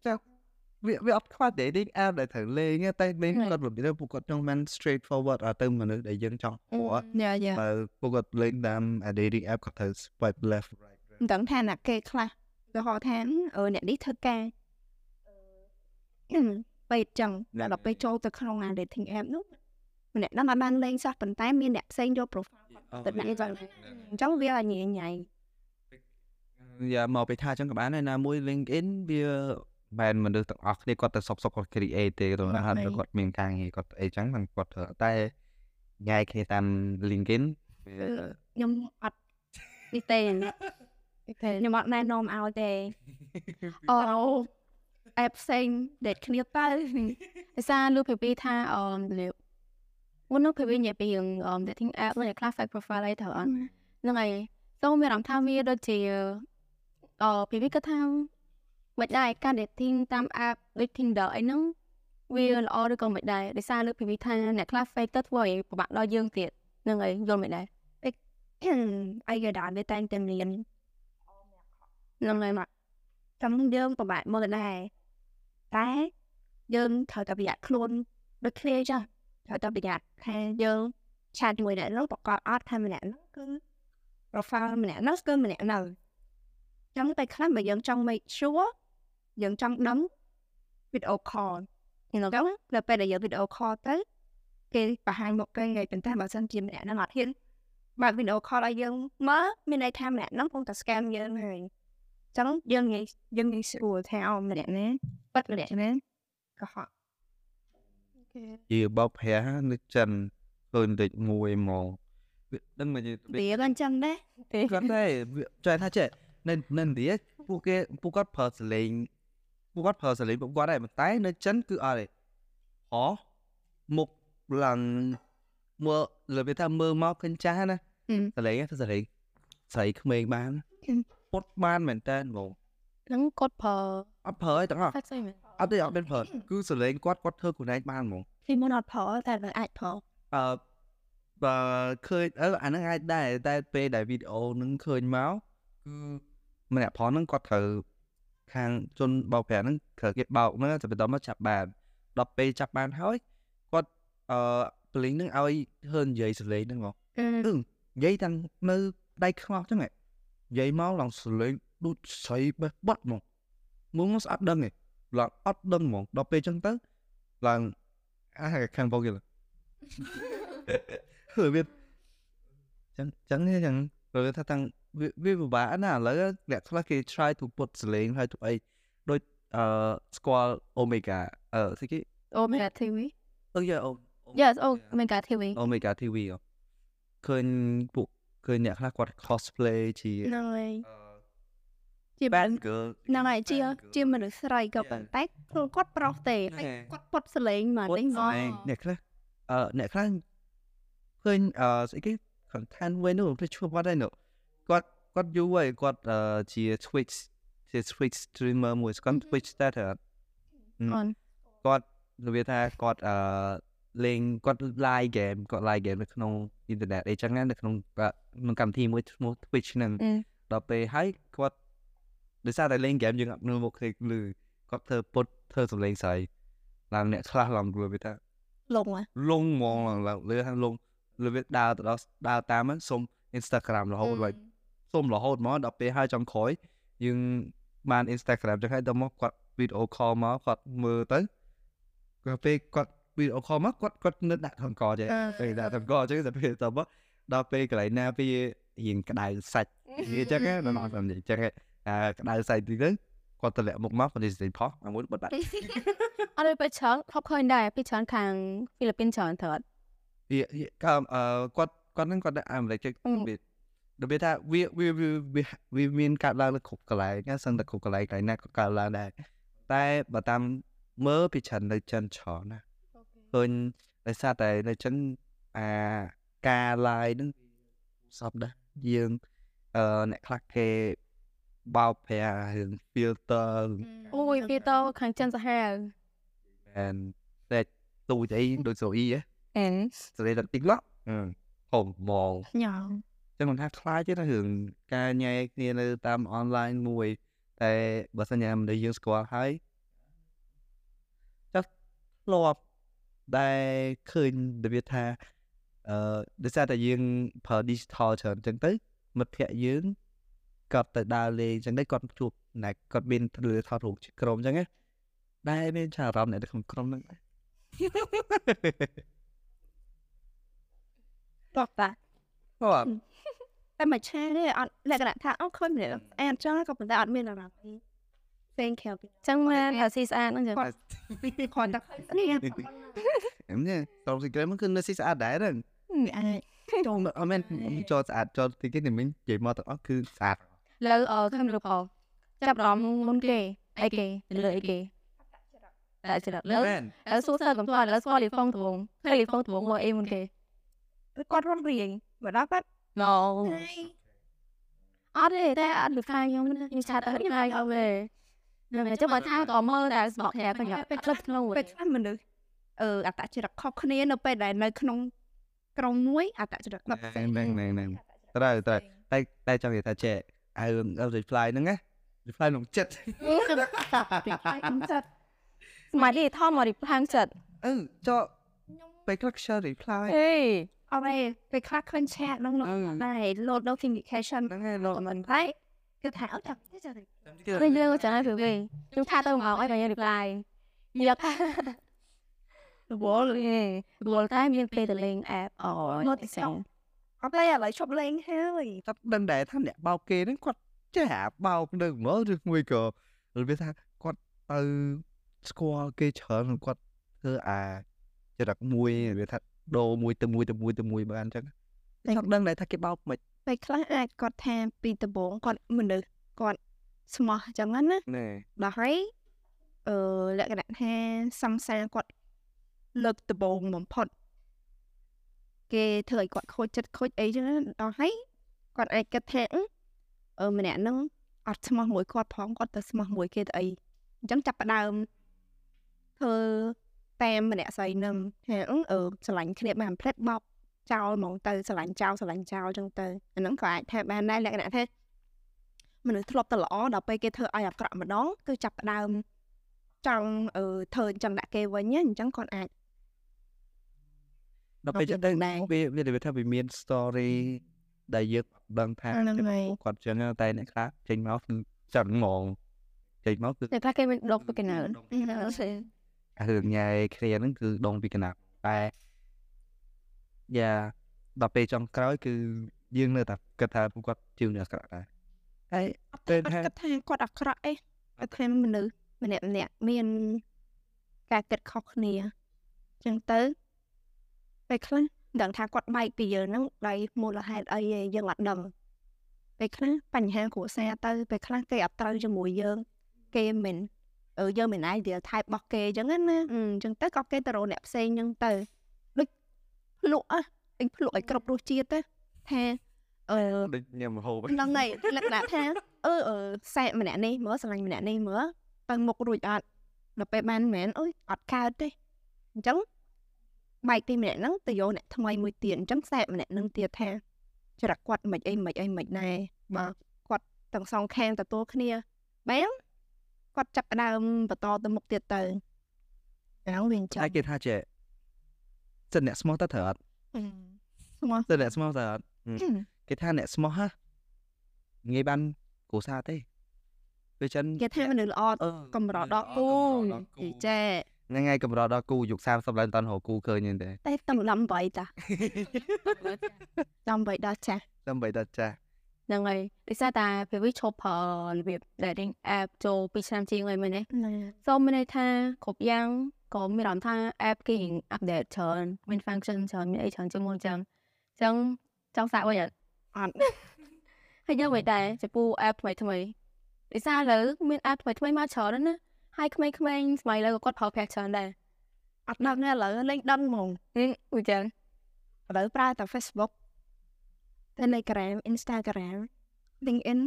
វាវាអត់ខ្វះ dating app ដែលត្រូវលេងទេតែលេងគាត់របៀបទៅពួកគាត់ចង់បាន straight forward អត់ទៅមនុស្សដែលយើងចង់ព្រោះ យ៉ាយ៉ា បើពួកគាត់លេងតាម dating app គាត់ត្រូវ swipe left right មិនដឹងថាណាគេខ្លះទៅហៅថាអឺអ្នកនេះធ្វើការអឺពេកចឹងដល់ពេលចូលទៅក្នុងអា dating app នោះម្នាក់ហ្នឹងអត់បានលេងសោះប៉ុន្តែមានអ្នកផ្សេងយក profile ទៅដាក់ចឹងអញ្ចឹងវាឲ្យញ៉ៃញ៉ៃ យ៉ាមកពេលថាចឹងក៏បានដែរណាមួយ LinkedIn វាមិនមនុស្សទាំងអស់គ្នាគាត់ទៅសុកសុកគាត់ create ទេទៅណាហើយគាត់មានការងារគាត់អីចឹងហ្នឹងគាត់ធ្វើតែញ៉ៃគ្នាតាម LinkedIn វា ខ្ញុំអត់នេះទេ តែ ខ្ញុំអត់ណែនាំឲ្យទេ [laughs] អូអេផ្សេងដែលគ្នាទៅ [laughs] ដោយសារលោកភីពីថាអមលាបមុននោះភីពីនិយាយពីរឿងអម dating app ហ្នឹង class fake profile អីត្រូវអត់ហ្នឹងហើយតោះមានអារម្មណ៍ថាវាដូចជាអភីពីគាត់ថាមិនដែរការ dating តាម app ដូច Tinder អីហ្នឹងវាល្អឬក៏មិនដែរដោយសារលោកភីពីថាអ្នក class fake ទៅធ្វើឲ្យពិបាកដល់យើងទៀតហ្នឹងហើយយល់មិនដែរ [clears throat] អាយដាវាតែងតែមាន ហ្នឹងហើយមក ចំយើងពិបាកមើលដែរតែយើងត្រូវតែប្រយ័ត្នខ្លួនដូចគ្នាចាស់ត្រូវតែប្រយ័ត្នថាយើងឆាតជាមួយអ្នកនោះប្រកបអត់ថាម្នាក់នោះគឺ profile ម្នាក់នោះគឺម្នាក់នោះចឹងតែខ្លះបើយើងចង់ make sure យើងចង់ដឹង video call ហ្នឹង ចឹងដល់ពេលដែលយើង video call ទៅគេបង្ហាញមុខគេហើយប៉ុន្តែបើសិនជាម្នាក់ហ្នឹងអត់ហ៊ានបើក video call ឲ្យយើងមើលមានន័យថាម្នាក់ហ្នឹងកំពុងតែ scam យើងហើយចឹងយើងងាយយើងងាយស្រួលថាអូម្នាក់ណាប៉ាត់ម្នាក់ណាកុហក ជាបោកប្រាស់នៅចិនឃើញតិចមួយហ្មងវាដឹងមិនទេ [laughs] វាក៏អញ្ចឹងដែរ ទេ គាត់តែវាចង់ថាចេះនៅនៅឥណ្ឌាពួកគេពួកគាត់ប្រើសលេងពួកគាត់ប្រើសលេងពួកគាត់ដែរប៉ុន្តែនៅចិនគឺអត់ទេហោមុខឡើងមើលលើវាថាមើលមកឃើញចាស់ណាសលេងហ្នឹងសលេងស្រីក្មេងបានពុតបានមែនតើហ្មង ហ្នឹងគាត់ប្រើ អត់ប្រើអីទាំងអស់ ហ្វាក់ស្អីមែន អត់ទេអត់មានប្រើគឺសលេងគាត់គាត់ធ្វើខ្លួនឯងបានហ្មង ពីមុនអត់ផលតែនៅអាចផល អឺបើឃើញអឺអាហ្នឹងអាចដែរតែពេលដែលវីដេអូហ្នឹងឃើញមកគឺម្នាក់ផងហ្នឹងគាត់ត្រូវខាងជនបោកប្រាស់ហ្នឹងត្រូវគេបោកហ្នឹងតែបន្តមកចាប់បានដល់ពេលចាប់បានហើយគាត់អឺប្លីងហ្នឹងឲ្យធ្វើនិយាយសលេងហ្នឹងហ្មង អ Ừ, ឺ vậy thằng mơ đây khó chứ này vậy máu lòng xử lý đút xoay bắt bắt một muốn nó ắt đơn này là ắt đơn một đó pe chân tới là à hay khăn bao kìa là [laughs] hơi biết chẳng chẳng thế chẳng rồi thằng thằng vi- vi vừa bà nè lấy lẽ thôi là khi try to put xử lý hay tụi ấy đôi ờ squall omega ờ thế cái អូមេកាធីវី ơ dạ, giờ ô Dạ, Yes អូមេកាធីវី omega tv ហ៎ឃើញពួកឃើញអ្នកខ្លះគាត់ cosplay ជា ហ្នឹងហើយជាបាន girl ហ្នឹងហើយជាជាមនុស្សស្រីក៏ Yeah. ប៉ុន្តែខ្លួនគាត់ប្រុសទេហើយគាត់ពត់សលេងមកនេះហ្ម សលេ ង ង អ្នកខ្លះអឺអ្នកខ្លះឃើញអឺស្អីគេ content វិញនោះទៅឈ្មោះគាត់ដែរនោះគាត់គាត់យូរហើយគាត់អឺជា Twitch ជា Twitch streamer មួយគាត់ Twitch starter អូន គាត់និយាយថាគាត់អឺលេងគាត់ live game គាត់ live game នៅក្នុង internet អីចឹងណានៅក្នុងអឺក្នុងកម្មវិធីមួយឈ្មោះ Twitch ហ្នឹង អឺ ដល់ពេលហើយគាត់ដោយសារតែលេងហ្គេមយើងអត់មើលមុខគេលឺគាត់ធ្វើពុតធ្វើសំឡេងស្រីឡើងអ្នកខ្លះឡើងព្រោះវាថា លងហ៎ លងហ្មងឡើងឡើងលឺថាលងលឺវាដើរទៅដល់ដើរតាមហ្នឹងសុំ Instagram រហូតហើយសុំរហូតមកដល់ពេលហើយចំក្រោយយើងបាន Instagram ចឹងហើយដល់មកគាត់ video call មកគាត់មើលទៅគាត់ពេលគាត់ video call មកគាត់គាត់នៅដាក់ថនកចេះ អឺ ពេលដាក់ថនកចឹងទៅពេលទៅមកដល់ពេលកន្លែងណាវារៀងក្តៅសា [laughs] ច់ និយាយចឹងណាដល់អត់និយា [laughs] យចឹងហ៎អាក្ដៅសៃទីទៅគាត់តម្លាក់មុខមកគាត់និយាយផុសអាមួយបិទបាអត់ត់ទៅពេលច្រើនខប់ឃើញដែរពីច្រើនខាងហ្វីលីពីនច្រើនត្រត់ វាវាក៏អឺគាត់គាត់នឹងគាត់ដាក់អាមេរិកចឹងវាដូចវាថាវាវាវាវាវាមានកាត់ឡើងនៅគ្រប់កន្លែងណាសឹងតែគ្រប់កន្លែងកន្លែងណាក៏កាត់ឡើងដែរតែបើតាមមើលពីច្រើននៅចិនច្រើនណាឃើញដោយសារតែនៅចិនអាការឡាយហ្នឹងសពដែរយើងអឺអ្នកខ្លះគេបោកប្រាស់រឿង filter រឿង អូយវាតខាងចិនសាហាវ and តែទូចអីដូចសូអ៊ីហ៎ អេ សលេដល់ TikTok ហូបមក ញ៉ាំ ចឹងមិនថាខ្លាចទេថារឿងការញ៉ែគ្នានៅតាម online មួយ តែបើសិនជាមនុស្សយើងស្គាល់ហើយចាស់ធ្លាប់ដែលឃើញដែលវាថាអឺដោយសារតែយើងប្រើ digital ច្រើនចឹងទៅមិត្តភ័ក្តិយើងគាត់ទៅដើរលេងចឹងទៅគាត់ជួបអ្នកគាត់មានធ្វើថតរូបជាក្រុមចឹងណាដែលមានចារអារម្មណ៍អ្នកនៅក្នុងក្រុមហ្នឹងដែរ តបតា គាត់ តែមួយឆានេះអត់លក្ខណៈថាអូខុញម្នាក់អែអត់ចង់ក៏ប៉ុន្តែអត់មានអារម្មណ៍ផ្សេងក្រៅពី ចឹងមែនថាស៊ីស្អាតហ្នឹងចឹង គាត់តែនេះ អឹមនេះតំស៊ីក្រែមគឺនៅស៊ីស្អាតដែរហ្នឹង [laughs] អាច ចូលមកអត់មែនចូលស្អាតចូលទីគេនេះមិញនិយាយមកទាំងអស់គឺស្អាត លើអឺខ្ញុំលើផលចាប់អារម្មណ៍មុនគេអីគេលើអីគេតែច្រត់លើ មែន អឺសួរសើកំផ្លាស់លើស្គាល់លីហ្វុងទ្រងហើយលីហ្វុងទ្រងមកអីមុនគេ គាត់រត់រៀងមកដល់គាត់ ណូអត់ទេតែអត់លើខាងខ្ញុំណាខ្ញុំឆាតអត់ហើយអត់ទេនៅចាំបើថាក៏មើលតែស្បកហែខ្ញុំអត់លើក្នុង ពេលខ្លះមនុស្សអឺអត្តចរិតខុសគ្នានៅពេលដែលនៅក្នុងក្រុមមួយអត្តចរិត ហ្នឹងហ្នឹងហ្នឹងត្រូវត្រូវតែតែចង់និយាយថាចេះអើអើ reply ហ្នឹងណា reply ក្នុងចិត្ត ចិត្ត ស្មៃលីថមមករីផ្លាងចិត្ត អឺចូលពេលខ្លះ share reply អេ អរេពេលខ្លះឃើញឆាតហ្នឹងដែរ load notification ហ្នឹងហើយលោក មិនដែរគឺថាអត់ចាំទេចាំ ពេលយើងក៏ចាំទៅវិញខ្ញុំថាទៅមកអីបងយើងរីផ្លាយយកថា រវល់ អេព្រោះតែមានពេលទៅលេងអេបអូយមកទីសង អត់ទេឥឡូវឈប់លេងហើយ គាត់ដឹងដែរថាអ្នកបោកគេហ្នឹងគាត់ចេះអាបោកនឹងហ្មងឬមួយក៏របៀបថាគាត់ទៅស្គាល់គេច្រើនហ្នឹងគាត់ធ្វើអាចរិតមួយរបៀបថាដោមួយទៅមួយទៅមួយទៅមួយបានអញ្ចឹងតែគាត់ដឹងដែរថាគេបោកមិន ពេលខ្លះអាចគាត់ថាពីដំបូងគាត់មនុស្សគាត់ស្មោះអញ្ចឹងណា ណែ ដល់ហើយអឺលក្ខណៈថាសំសារគាត់លើកដំបូងបំផុតគេធ្វើឲ្យគាត់ខូចចិត្តខូចអីចឹងណាដល់ហើយគាត់អាចគិតថាអឺម្នាក់ហ្នឹងអត់ស្មោះមួយគាត់ផងគាត់ទៅស្មោះមួយគេទៅអី អញ្ចឹងចាប់ផ្ដើមធ្វើតែម្នាក់ស្រីនឹមថាអឺអឺស្រឡាញ់គ្នាបានផ្លិតបបចោលហ្មងទៅស្រឡាញ់ចោលស្រឡាញ់ចោលអញ្ចឹងទៅអាហ្នឹងក៏អាចថាបានដែរលក្ខណៈថាមនុស្សធ្លាប់តែល្អដល់ពេលគេធ្វើឲ្យអាក្រក់ម្ដងគឺចាប់ផ្ដើមចង់អឺធ្វើអញ្ចឹងដាក់គេវិញណាអញ្ចឹងគាត់អាច ដល់ពេលចឹងទៅ ដល់ពេលហ្នឹងវាវាដែរនិយាយថាវាមាន story ដែលយើងអត់ដឹងថា ហ្នឹងហើយ គាត់ចឹងតែអ្នកខ្លះចេញមកគឺចឹងហ្មងចេញមកគឺ តែខ្លះគេមិនដកទៅកណាល អារឿងញ៉ែគ្នាហ្នឹងគឺដងពីកណាប់តែយ៉ាដល់ពេលចុងក្រោយគឺយើងនៅតែគិតថាពួកគាត់ជាមនុស្សអាក្រក់ដែរហើយ អត់ ពេល ទេអ ថា ត់គិតថាគាត់អាក្រក់អីអត់ថាមនុស្សម្នាក់ម្នាក់មានការគិតខុសគ្នាអញ្ចឹងទៅពេលខ្លះដឹងថាគាត់បែកពីយើងហ្នឹងដោយមូលហេតុអីឯងយើងអត់ដឹងពេលខ្លះបញ្ហាគ្រួសារទៅពេលខ្លះគេអត់ត្រូវជាមួយយើងគេមិនអឺយើងមិន ideal type របស់គេអញ្ចឹងណាណាអឺអញ្ចឹងទៅក៏គេទៅរកអ្នកផ្សេងអញ្ចឹងទៅដូចភ្លក់អ่ะអញភ្លក់ឲ្យគ្រប់រសជាតិទេថាអឺ ដូចញ៉ាំម្ហូប ហ្នឹងហើយលក្ខណៈថាអឺអឺសែកម្នាក់នេះមើលស្រឡាញ់ម្នាក់នេះមើលទៅមុខរួចអត់ដល់ពេលបានមិនមែនអុយអត់កើតទេអញ្ចឹងបែកទីម្នាក់ហ្នឹងទៅយកអ្នកថ្មីមួយទៀតអញ្ចឹងសែកម្នាក់ហ្នឹងទៀតថាចរិតគាត់មិនអីមិនអីមិនដែរបើគាត់ទាំងសងខាងទទួលគ្នាបែបគាត់ចាប់ផ្ដើមបន្តទៅមុខទៀតទៅអាហ្នឹងវាអញ្ចឹង តែគេថាចេះសិនអ្នកស្មោះតើត្រូវអត់ ស្មោះ សិនអ្នកស្មោះតើអត់ អឺ គេថាអ្នកស្មោះហ่ะងាយបានគ្រួសារទេពេលចឹង គេថាមនុស្សល្អ អឺ កំរដល់គូនិយាយចេះ ហ្នឹងហើយកម្រដល់គូយុគ30ឡើងតាន់រកគូឃើញទេ [laughs] តែ តែតំឡំបីតា តំបីដល់ចាស់ តែបីតើចាស់ ហ្នឹងហើយដូចសារតែពេលវាឈប់ប្រើរបៀប dating app ចូល2ឆ្នាំជាងហើយមែនទេ ណា សូមមានន័យថាគ្រប់យ៉ាងក៏មានអារម្មណ៍ថា app គេរៀង update ច្រើនមាន function ច្រើនមានអីច្រើនជាងមុនអញ្ចឹងអញ្ចឹងចង់សាកវិញអត់ អត់ ហើយយើងវិញដែរចំពោះ app ថ្មីថ្មីដូចសារឥឡូវមាន app ថ្មីថ្មីមកច្រើនណាស់ណាហើយក្មេងៗសម័យឥឡូវក៏គាត់ប្រើប្រាស់ច្រើនដែរ អត់ដឹងទេឥឡូវលេងដឹងហ្មង ហ្នឹងអញ្ចឹង ឥឡូវប្រើតែ Facebook Telegram Instagram LinkedIn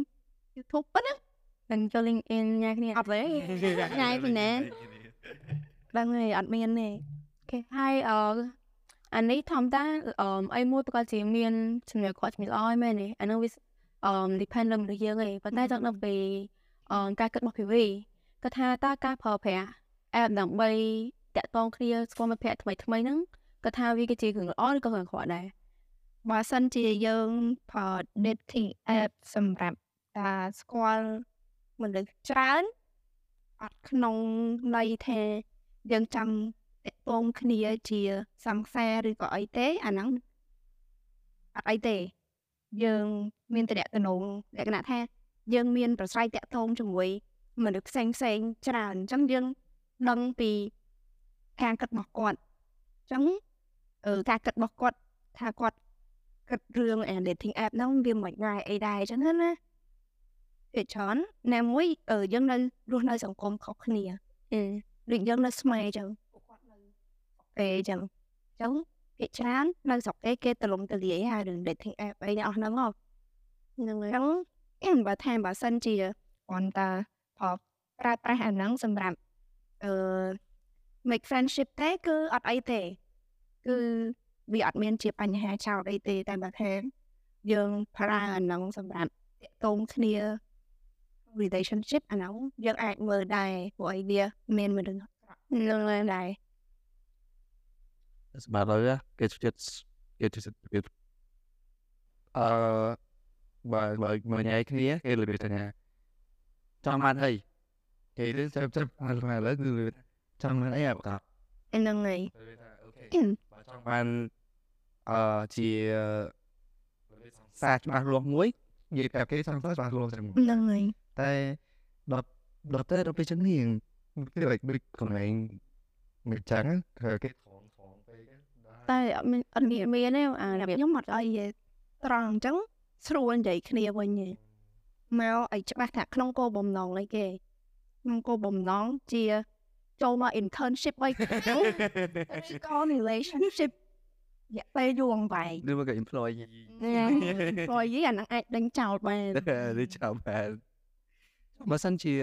YouTube ប៉ុណ្ណា នឹងចូល LinkedIn ញ៉ាគ្នា អត់ទេ ញ៉ាពីណា ដឹងទេអត់មានទេ គេហើយអឺអានេះធម្មតាអឺអីមួយប្រកាសជាមានជំនឿគាត់ជំនឿល្អហើយមែនទេអានោះវាអឺ depend លើមនុស្សយើងឯងប៉ុន្តែចង់ដឹងពីអឺការគិតរបស់ PV គាត់ថាតើការប្រើប្រាស់ app ដើម្បីតាក់ទងគ្នាស្គាល់មិត្តភក្តិថ្មីថ្មីៗហ្នឹងគាត់ថាវាគឺជារឿងល្អឬក៏រឿងអាក្រក់ដែរ បើសិនជាយើងប្រើ dating app សម្រាប់តាស្គាល់មនុស្សច្រើនអត់ក្នុងន័យថាយើងចង់តពងគ្នាជាសង្សារឬក៏អីទេអាហ្នឹងអត់អីទេ យើងមានតំណែងលក្ខណៈថា យើងមានប្រស្រ័យតាក់ទងជាមួយមនុស្សផ្សេងផ្សេងៗច្រើនអញ្ចឹងយើងដឹងពីការគិតរបស់គាត់អញ្ចឹងអឺការគិតរបស់គាត់ថាគាត់គិតរឿងអា dating app ហ្នឹងវាមិនដែរអីដែរអញ្ចឹងណាណាជាច្រើនណាមួយអឺយើងនៅរស់នៅសង្គមខុសគ្នា អឺ ដូចយើងនៅស្មែអញ្ចឹងពួកគាត់នៅពេលអញ្ចឹងអញ្ចឹងជាច្រើននៅស្រុកគេគេទលំទលាយហើយរឿង dating app អីអ្នកអស់ហ្នឹងហ៎ ហ្នឹងហើយ អញ្ចឹ [clears throat] ង បើថែមបើសិនជាគាត់តាផលប្រើប្រាស់អាហ្នឹងសម្រាប់អឺ make friendship ទេគឺអត់អីទេ គឺវាអត់មានជាបញ្ហាចោលអីទេតែបើថែមយើងប្រើអាហ្នឹងសម្រាប់តាក់ទងគ្នា relationship អាហ្នឹងយើងអាចមើលដែរព្រោះអីវាមានមនុស្ស ហ្នឹងហើយ ដែរ សម្រាប់ឥឡូវហ่ะគេជឿគេជឿវាអឺបើបើមកញ៉ែគ្នាគេលើកថាចាំបានអីគេលើកចាប់ចាប់អត់បានឥឡូវគឺលើកចាំបានអីអាប្រកាស ហ្នឹងហើយ លើកថាអូខេបើចង់បានអឺជា ờ, សារច្បាស់លាស់មួយនិយាយប្រាប់គេចង់សារច្បាស់លាស់តែមួយ ហ្នឹងហើយ តែដល់ដល់ទៅដល់ពេលចឹងនេះគេដូចដូចកន្លែងមិនចឹងគឺគេថងថងពេក តែអត់មានអត់មានមានទេអារបៀប ខ្ញុំអត់អីទេត្រង់អញ្ចឹងស្រួលនិយាយគ្នាវិញទេ មកឲ្យច្បាស់ថាក្នុងគោលបំណងអីគេក្នុងគោលបំណងជាចូលមក internship អីគេឬក៏ relationship រយៈពេលយូរអង្វែង ឬមកគេ employee ព្រោះយីអាហ្នឹងអាចដេញចោលបាន ឬចាំបានបើសិនជា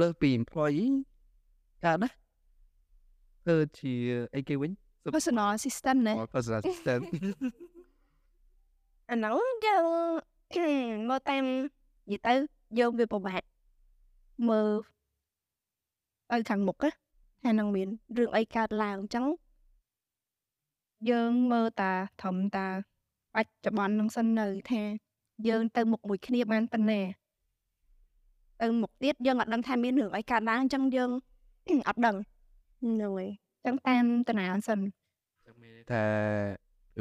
លើសពី employee Ờ, កើតណាគឺជាអីគេវិញ personal assistant ណា personal assistant អាហ្នឹងយើង [clears throat] មើលតាមនិយាយទៅយើងវាពិបាកមើលឲ្យខាងមុខណាថានឹងមានរឿងអីកើតឡើងអញ្ចឹងយើងមើលតាធំតាបច្ចុប្បន្នហ្នឹងសិននៅថា យើងទៅមុខមួយគ្នាបានប៉ុណ្ណាទៅមុខទៀតយើងអត់ដឹងថាមានរឿងអីកើតឡើងអញ្ចឹង [clears throat] យើង អត់ដឹង ហ្នឹងហើយ អញ្ចឹងតាមតាណាសិន ថា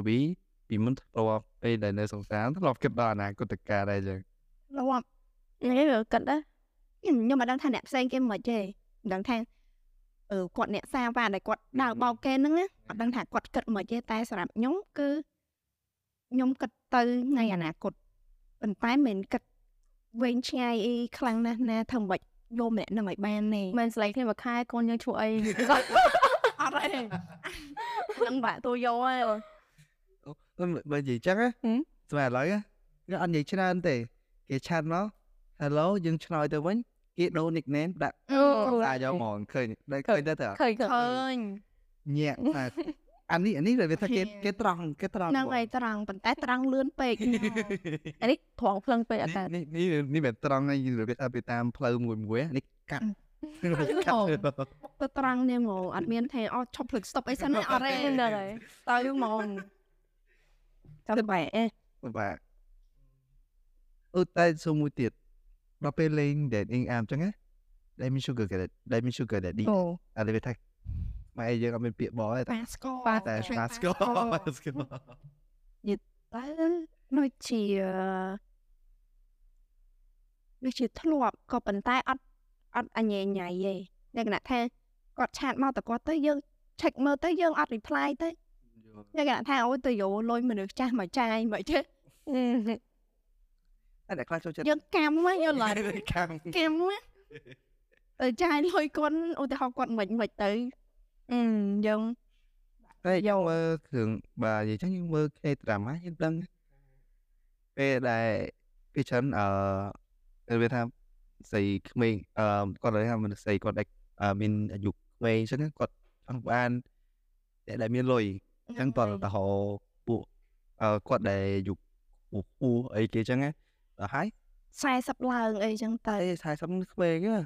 ពីពីមុនធ្លាប់ពេលដែលនៅសង្សារធ្លាប់គិតដល់អនាគតការដែរចឹង លោក នេះវាគិតដែរ ខ្ញុំមិនដឹងថាអ្នកផ្សេងគេមិនទេមិនដឹងថាអឺគាត់អ្នកសាវ៉ាដែលគាត់ដើរបោកគេហ្នឹងណាអត់ដឹងថាគាត់គិតមិនទេតែសម្រាប់ខ្ញុំគឺខ្ញុំគិតទៅថ្ងៃអនាគតប៉ុន្តែមិនគិតវែងឆ្ងាយអីខ្លាំងណាស់ណាធ្វើមិនយកម្នាក់ហ្នឹងឲ្យបានទេ មិនស្លេកគ្នាមួយខែកូនយើងឈ្មោះអី [laughs] អត់ទេ ហ្នឹងបាក់ទូយោហើយ មិនបើនិយាយចឹងណា ហឹម ស្មានឥឡូវណាគេអត់និយាយច្រើនទេគេឆាត់មក hello យើងឆ្លើយទៅវិញគេដូរ nickname ដាក់សារយកហ្មកឃើញដល់ឃើញទៅទៅ ឃើញឃើញ ញា [laughs] ក់ថាអានេះអានេះវាថាគេគេត្រង់គេត្រង់ ហ្នឹងឯងត្រង់ប៉ុន្តែត្រង់លឿនពេក [laughs] អានេះត្រង់ភ្លឹងពេកអត់ ហ្ម តែ ងនេះនេះនេះនេះវាត្រង់ហើយយើងវាថាទៅតាមផ្លូវមួយមួយអានេះកាត់ [laughs] កាត់ទៅ ទៅត្រង់ [laughs] នេះហ្មងអត់មានថាអត់ឈប់ភ្លឹកស្តុបអីសិនទេអត់ទេ ហ្នឹងហើយ ទៅហ្មងចាំបែអេ បាទអឺតែសួរមួយទៀតដល់ពេលលេង dating app អញ្ចឹងណា Diamond Sugar Daddy Diamond Sugar Daddy អូ អានេះវាថាម៉ែយើងអត់មានពាក្យបង [laughs] ទេ ប៉ាស្ក ប៉ា តែ ឆ្លា ស្គាល់ស្គាល់ [laughs] តែដូចជាដូចជាធ្លាប់ក៏ប៉ុន្តែអត់អត់អញ្ញែញ៉ៃទេលក្ខណៈថាគាត់ឆាតមកតែគាត់ទៅយើង check មើលទៅយើងអត់ reply ទៅលក្ខណៈថាអូយទៅយោលុយមនុស្សចាស់មកចាយមកចេះ [laughs] តែអ្នកខ្លះចូលចិត្ត យើងកាំហ្នឹងយល់ឡើយ [laughs] ខាង កាំហ្នឹងទៅចាយលុយគាត់ឧទាហរណ៍គាត់មិនមិនទៅអឺយើង តែយកមើលគ្រឿងបាទនិយាយចឹងយើងមើល K drama យើងដឹងពេលដែលពីច្រើនអឺវាថាស្រីក្មេងអឺគាត់និយាយថាមនុស្សស្រីគាត់ដែលមានអាយុក្មេងអញ្ចឹងគាត់ចង់បានតែដែលមានលុយ ចឹងតើតហោពួកអឺគាត់ដែលយុគពួកពូអីគេចឹងណាដល់ហើយ 40ឡើងអីចឹងទៅ តែ40ក្មេងហ៎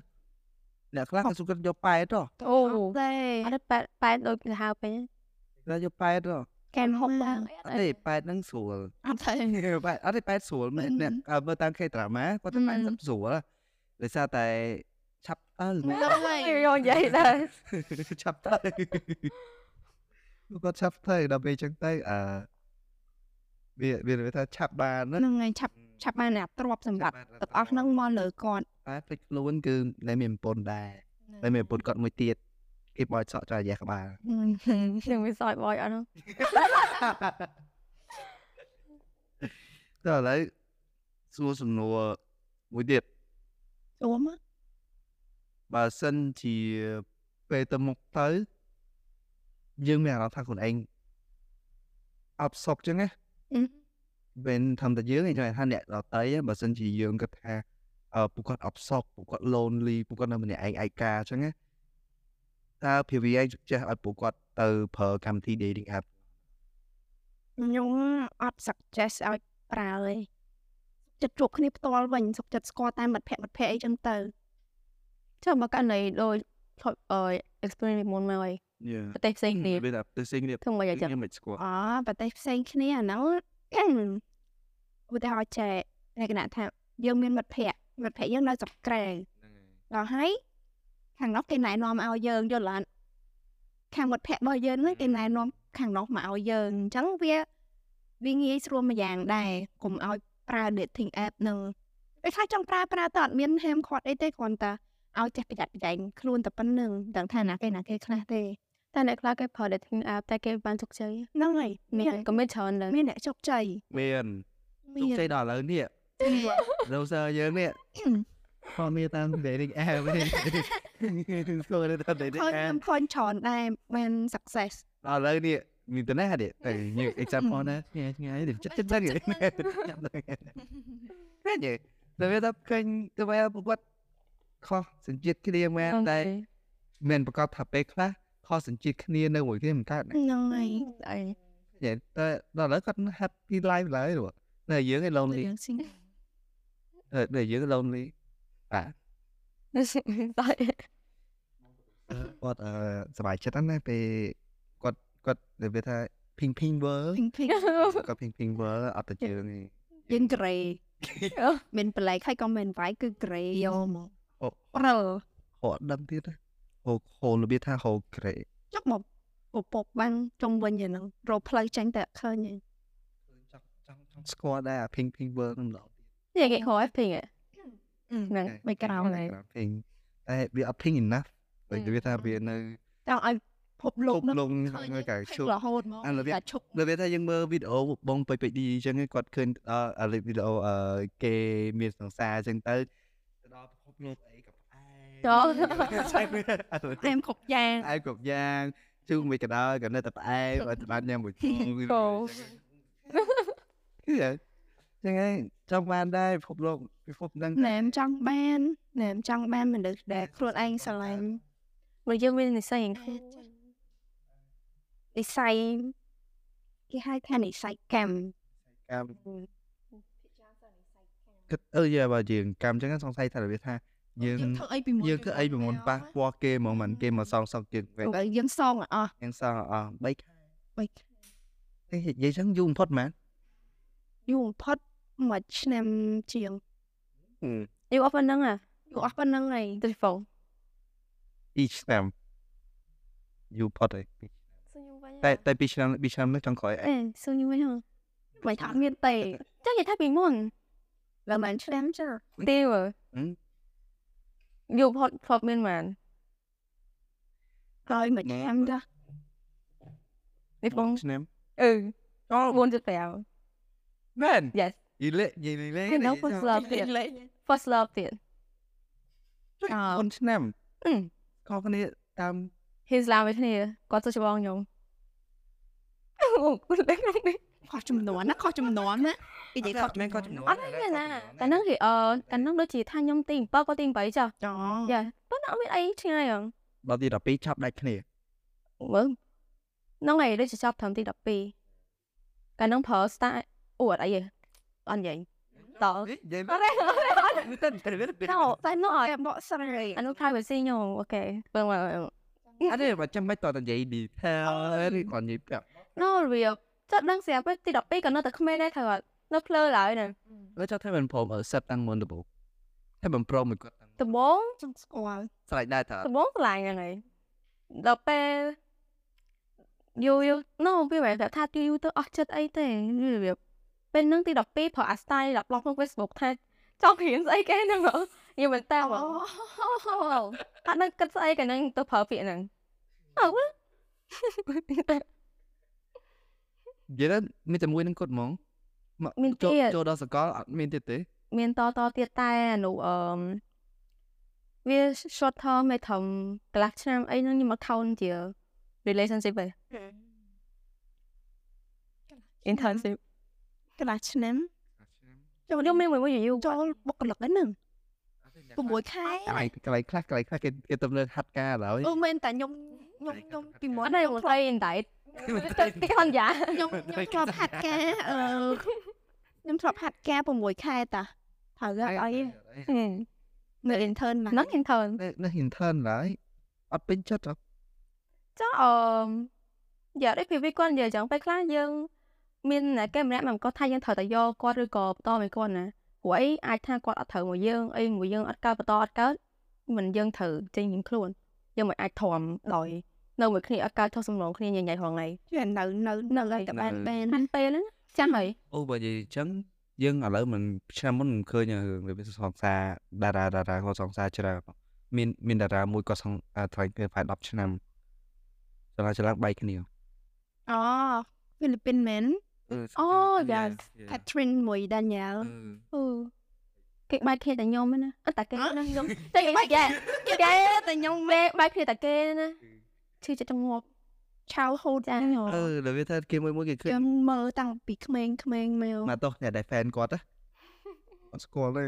អ្នកខ្លះក៏សុខចិត្តយកប៉ែតហ៎ អូ អត់ទេ អត់ប៉ែតប៉ែតដូចគេហៅពេញ តែយកប៉ែតហ៎ កែមហុក ឡើ ឡើង ង អីអត់អត់ ទេ ទេប៉ែតហ្នឹងស្រួល អត់ទេ ប៉ែតអត់ទេប៉ែតស្រួលមែន អឺ អ្នកអឺមើលតាម K drama គាត់ទៅ អឺ ប៉ែតស្រួលហ៎ដោយសារតែឆាប់អើ ហ្នឹងហើយ យោយាយដែរ [laughs] ឆាប់ទៅគាត់ឆាប់ទៅដល់ពេលចឹងទៅអឺវាវាវាថាឆាប់បានណា ហ្នឹងហើយឆាប់ឆាប់បានអ្នកទ្របសម្រាប់ទាំងអស់ហ្នឹងមកលើគាត់ [laughs] តែភ្លេចខ្លួនគឺតែមានប្រពន្ធដែរ តែមានប្រពន្ធគាត់មួយទៀតគេបោចសក់ចោលរយៈក្បាល ខ្ញុំវាសោយបយអត់ហ្នឹង តើឥឡូវសួរសំណួរមួយទៀត អូម បើសិនជាពេលទៅមុខទៅយើងមានអារម្មណ៍ថាខ្លួនឯងអប់សពចឹងណាពេលធម្មតាយើងឯងថាអ្នកដតីឯងបើសិនជាយើងគិតថាអឺពួកគាត់អប់សពពួកគាត់ lonely ពួកគាត់នៅម្នាក់ឯងឯកាចឹងណាតើភាវីឯងចេះឲ្យពួកគាត់ទៅប្រើកម្មវិធី dating app ខ្ញុំអត់ suggest ឲ្យប្រើទេចិត្តជួបគ្នាផ្ទាល់វិញសុខចិត្តស្គាល់តាមមិត្តភក្តិមិត្តភក្តិអីចឹងទៅ ចុះមកកណ្ដីដូចឈប់អឺ experiment មុនមកហើយប្រទេសផ្សេងគ្នា វាថាទៅសេងគ្នា ធ្វើមិនអញ្ចឹង ខ្ញុំមិនស្គាល់ អូប្រទេសផ្សេងគ្នាអាហ្នឹង [coughs] ឧទាហរណ៍ចែកលក្ខណៈថាយើងមានមិត្តភក្តិមិត្តភក្តិយើងនៅស្រុកក្រៅ ដល់ហើយខាងនោះគេណែនាំឲ្យយើងយល់អត់ខាងមិត្តភក្តិរបស់យើងហ្នឹងគេណែនាំខាងនោះមកឲ្យយើងអញ្ចឹងវាវាងាយស្រួលមួយយ៉ាងដែរកុំឲ្យប្រើ dating app ហ្នឹងពេលខ្លះចង់ប្រើប្រើទៅអត់មានហាមឃាត់អីទេគ្រាន់តែឲ្យចេះប្រយ័ត្នប្រយែងខ្លួនតែប៉ុណ្្នឹងមិនដឹងថាណាគេណាគេខ្លះទេ តែអ្នកខ្លះគេប្រើ dating app តែគេបានជោគជ័យ ហ្នឹងហើយ មា មាន នក៏មានច្រើន [laughs] ដែរ មានអ្នកជោគជ័យ មានជោគ មាន ជ័ [clears throat] យដល់ឥឡូវនេះ [laughs] browser យើងនេះគាត់មានតាម dating app វិញស្គាល់ទៅតាម dating ឃើញ app ឃើញច្រើនដែរបាន success ដល់ឥឡូវនេះមានតែណាទេតែយើង example ណាឆ្ងាយឆ្ងាយទេចិត្តចិត្តហ្នឹងចាំដល់ហ្នឹងតែវាថាឃើញទៅវាពួកគាត់ ខុសសញ្ជាតិគ្នាមែន ហ្នឹ តែ ងទេ មិនប្រកាសថាពេលខ្លះខុសសញ្ជាតិគ្នានៅមួយគ្នាមិនកើតណា ហ្នឹងហើយ អី vậy តែដល់ឥឡូវគាត់ happy life ឡើយហ៎នៅយើងឯ lonely យើងស៊ី នៅយើង lonely [laughs] តែ គាត់អឺសប្បាយចិត្តណាស់ពេលគាត់គាត់និយាយថា ping ping world ភីងភីង គាត់ ping ping world អត់ទៅជើងទេ យើងក្រេ [laughs] មានប្លែកហើយក៏មានវាយគឺក្រេយកមក អូ ប្រើ ហត់ដឹងទៀតណាហូហូរបៀបថាហូក្រេ ចុកមកពពកបាំងចុងវិញយ៉ាងហ្នឹងរកផ្លូវចាញ់តែអត់ឃើញឯចងង់ចង់ចង់ស្គាល់ដែរអា ping ping world ហ្នឹងឡង និយាយគេហៅ FP Ừ, ហ្នឹង Okay, ក្រោម okay, ហើយ background ping តែវាអត់ ping enough ដូច អឺ វាថាវានៅ តើឲ្យភព ជ លោក ប់ ហ្នឹលងង ឃើញ នៅកា ភ ជប់ ពរហូតមក អារបៀប តែឈប់ នៅវាថាយើងមើលវីដេអូបងពេពេឌីអញ្ចឹងគាត់ឃើញដល់អាវីដេអូអឺគេមានសង្សារអញ្ចឹងទៅទៅដល់ពិភពលោកអីក៏ផ្អែម ចុះ [laughs] ចែកវាអត់ តែមគ្រប់យ៉ាង ផ្អែមគ្រប់យ៉ាងជូរមួយកដៅក៏នៅតែផ្អែមអត់បានញ៉ាំមួយគងវា ចូល គឺអញ្ចឹងឯងចង់បានដែរពិភពលោកពិភពហ្នឹង ណែមចង់បានណែមចង់បានមនុស្សដែលខ្លួនឯងស្រឡាញ់ មកយើងមាននិស្ស័យយ៉ាងខ្លាំង និស័យគេហៅថានិស័យកម្ម កម្មគិតអឺយ៉ាបើយើងកម្មអញ្ចឹងសង្ស័យថារបៀបថាយើង ធ្វើអីពីមុន យើងគឺអីប្រមុនប៉ះពាល់គេហ្មងមិនគេមកសងសងគេវិញ បើយើងសងឲ្យអស់ យើងសងអស់3ខែ បីខែ ទេនិយាយចឹងយូរបំផុតមែន យូរបំផុតមួយឆ្នាំជាង យូរអស់ប៉ុណ្ណឹងអា យូរអស់ប៉ុណ្ណឹងហើយ telephone each time យូរបំផុតហើយតែតែពីឆ្នាំពីឆ្នាំនេះចង់ក្រោយអី អេសួរយូរវិញហ៎ មិនថាអត់មានទេ ចង់និយាយថាពីមុន លើមិនឆ្នាំចា ទេវយូរផុតផុតមានមែន ក្រោយមួយឆ្នាំចា នេះបង ឆ្នាំ អឺ4.5 មែន yes យីលេយីលេ I know first love ទៀត first love ទៀត អូនឆ្នាំ អឺ ខកគ្នាតាម his love វិញគ្នាគាត់ទៅច្បងខ្ញុំអូគាត់លេងក្នុងនេះ ខុសចំនួនណាខុសចំនួនណានិយាយខុស មែនក៏ចំនួន អត់ហើយមានណាតែហ្នឹងគេអឺតែហ្នឹងដូចជាថាខ្ញុំទី7គាត់ទី8ចុះ ចោ យ៉ាប៉ុន្តែអត់មានអីឆ្ងាយហ៎ ដល់ទី12ឆាប់ដាច់មគ្នាើលហ្នឹងឯងដូចជាចប់ត្រឹមទី12កាលហ្នឹងប្រើ start អូអត់អីទេអត់និយាយតោះ និយាយ អរេអរេអ [laughs] រេ ទៅទៅទៅទៅ តោះតែនោះអត់ តែបកស្រាយ អានោះ privacy ញោមអូខេបើមក អត់ទេបើចាំមិនតតនិយាយ detail ឬក៏និយាយប្រាប់ no real ចត់ដឹងស្រាប់ពេលទី12ក៏នៅតែក្មេងដែរត្រូវអត់នៅភ្លើឡើយណា លើចោះថាមិនព្រមអឺសិតតាំងមុនដបតែមិនព្រមមួយគាត់តាំងមុដំបងនចង់ស្គាល់ ស្រេចដែរថា ដំបងឆ្លាញ់ហ្នឹងឯងដល់ពេលយូរយូរ no វាមិនថាយូរយូរទៅអស់ចិត្តអីទេវាពេលហ្នឹងទី12ប្រើអា style ដាក់ blog ក្នុង Facebook ថាចង់រៀនស្អីគេហ្នឹងហ៎យល់មែនតើ អូ បង អត់ដឹងគិតស្អីកណ្ដឹងទៅប្រើពាក្យហ្នឹងអើវ៉ា និយាយទៅមានតែមួយនឹងគាត់ហ្មងមក មាន ចូល ទៀត ចូលដល់សកលអត់មានទៀតទេ មានតតទៀតតែអនុអឺមវា ờ, short term មិនធំកន្លះឆ្នាំអីហ្នឹងខ្ញុំមក count ជា relationship ទេ internship កន្លះឆ្នាំ ចូលខ្ញុំមានមួយមួយយូរៗ ចូលបុគ្គលិកហ្នឹង6ខែ កន្លែងកន្លែងខ្លះកន្លែងខ្លះគេគេទំនើបហាត់ការឡើយ [laughs] អូមែនតែខ្ញុំខ្ញុំខ្ញុំពីមុ អ ន ត់ដឹងមកស្អី intern [laughs] ទៅទីអនយ៉ា ខ្ញុំខ្ញុំធ្លាប់ហាត់ការអឺខ្ញុំធ្លាប់ហាត់ការ6ខែតាត្រូវអត់អីនៅ intern ហ្នឹ ណា ង intern នៅនៅ intern ឡើយអត់ពេញចិត្តហ៎ ចុះអឺយ៉ាដូចពីវាគាត់និយាយចឹងពេលខ្លះយើង មានអ្នកគេម្នាក់មកគាត់ថាយើងត្រូវតែយកគាត់ឬក៏បន្តមួយគាត់ណាព្រោះអីអាចថាគាត់អត់ត្រូវមកយើងអីមួយយើងអត់កើតបន្តអត់កើតមិនយើងត្រូវចេញយើងខ្លួនយើងមិនអាចធំដោយនៅមួយគ្នាអត់កើតចុះសំឡងគ្នាញ៉ៃញ៉ៃហងៃ ជានៅនៅនៅឲ្យតែបានបាន ហាន់ពេលហ្នឹងចាំហើយ អូបើនិយាយអញ្ចឹងយើងឥឡូវមិនឆ្នាំមុនមិនឃើញរឿងរបៀបសងសារតារាតារាគាត់សងសារច្រើនហ៎មានមានតារាមួយគាត់សងអាថ្លៃគេប្រហែល10ឆ្នាំចលាចលាបែកគ្នា អូហ្វីលីពីនមែន អូយ៉ាអ Catherine មួយ Daniel ឺគេបែកគ្នាតែខ្ញុំហ្នឹងណាអត់តែគេ អ่ะ ហ្នឹងខ្ញុំតែគេបែកគេតែខ្ញុំបែកបែកគ្នាតែគេហ្នឹងណាឈឺចិត្តចង្អប់ ឆៅហូត ចាញោម អឺរបៀបថាគេមួយមួយគេឃើញ ខ្ញុំមើលតាំងពីក្មេងក្មេងមក មកទោះអ្នកដែល fan គាត់ណា អត់ស្គាល់ទេ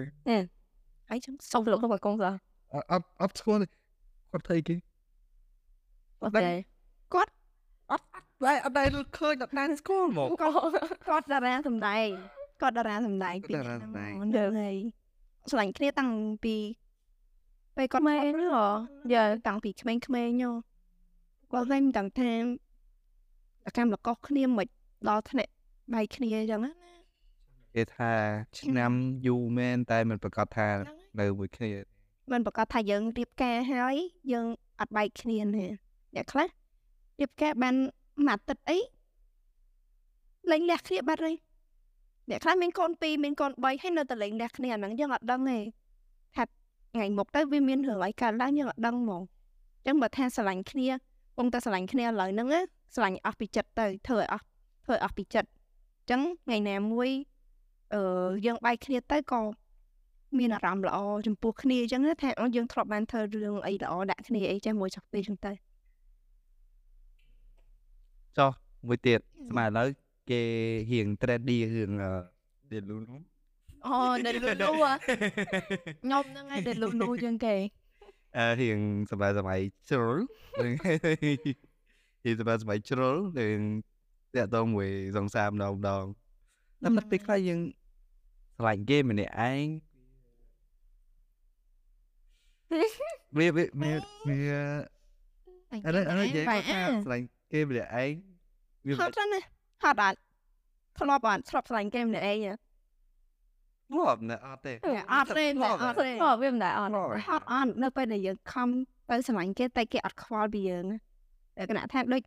អីចឹង សុំទៅលោកក្នុងកងសោះ អត់អត់ស្គាល់ទេគាត់ថៃគេ អូ ដឹង ខេ អត់អត់ដែរអត់ដែរឃើញដល់ដែរស្គាល់ហ្មង គាត់តារាសម្ដែងគាត់តារាសម្ដែង គាត់តារាសម្ដែង ពីឆ្នាំមុនហើយស្រឡាញ់គ្នាតាំងពីពេលគាត់ ម៉ែឬហ៎យើ តាំងពីក្មេងៗញោមគាត់តែមិនដឹងថាអាកម្មលកុសគ្នាមិនដល់ថ្នាក់បែកគ្នាអញ្ចឹងណា គេថាឆ្នាំយូរមែនតែមិនប្រកាសថានៅមួយគ្នា មិនប្រកាសថាយើងរៀបការហើយយើងអត់បែកគ្នាទេអ្នកខ្លះរៀបការបានមួយអាទិត្យអីលេងលះគ្នាបាត់ហើយអ្នកខ្លះមានកូន2មានកូន3ហើយនៅតែលេងលះគ្នាអាហ្នឹងយើងអត់ដឹងទេថាថ្ងៃមុខទៅវាមានរឿងអីកើតឡើងយើងអត់ដឹងហ្មងអញ្ចឹងបើថាស្រឡាញ់គ្នាពងតែស្រឡាញ់គ្នាឥឡូវហ្នឹងណាស្រឡាញ់អស់ពីចិត្តទៅធ្វើឲ្យអស់ធ្វើឲ្យអស់ពីចិត្តអញ្ចឹងថ្ងៃណាមួយអឺយើងបែកគ្នាទៅក៏មានអារម្មណ៍ល្អចំពោះគ្នាអញ្ចឹងណាថាអូយើងធ្លាប់បានធ្វើរឿងអីល្អដាក់គ្នាអីចេះមួយចុះពេលអញ្ចឹងទៅ មួយទៀតស្មើឥឡូវគេរៀង trendy រឿងទៀតលូន អូដេលូនូអ្ហ៎ខ្ញុំហ្នឹងឯងដេលូនូជាងគេ អឺរៀងសម័យសម័យជ្រុលរឿងរៀង [laughs] សម័យសម័យជ្រុលរឿងតាក់ទងមួយសងសាមដងដងតែមិនពេលខ្លះយើងឆ្លាញ់គេម្នាក់ [laughs] ឯងវាវាវាវា ឥឡូវឥឡូវនិយាយគាត់ថាស្រឡាញ់គេម្នាក់ឯងវា ហត់ចឹងណាហត់អត់ធ្លាប់អត់ធ្លាប់ស្រឡាញ់គេម្នាក់ឯងហ៎ ធ្លាប់ណាស់អត់ទេ អឺអត់ទេ ធ្លាប់ អត់ទេ អូវាមិនដែរអត់ ធ្លាប់ ហត់អត់នៅពេលដែលយើងខំទៅស្រឡាញ់គេតែគេអត់ខ្វល់ពីយើងណាលក្ខណៈថាដូច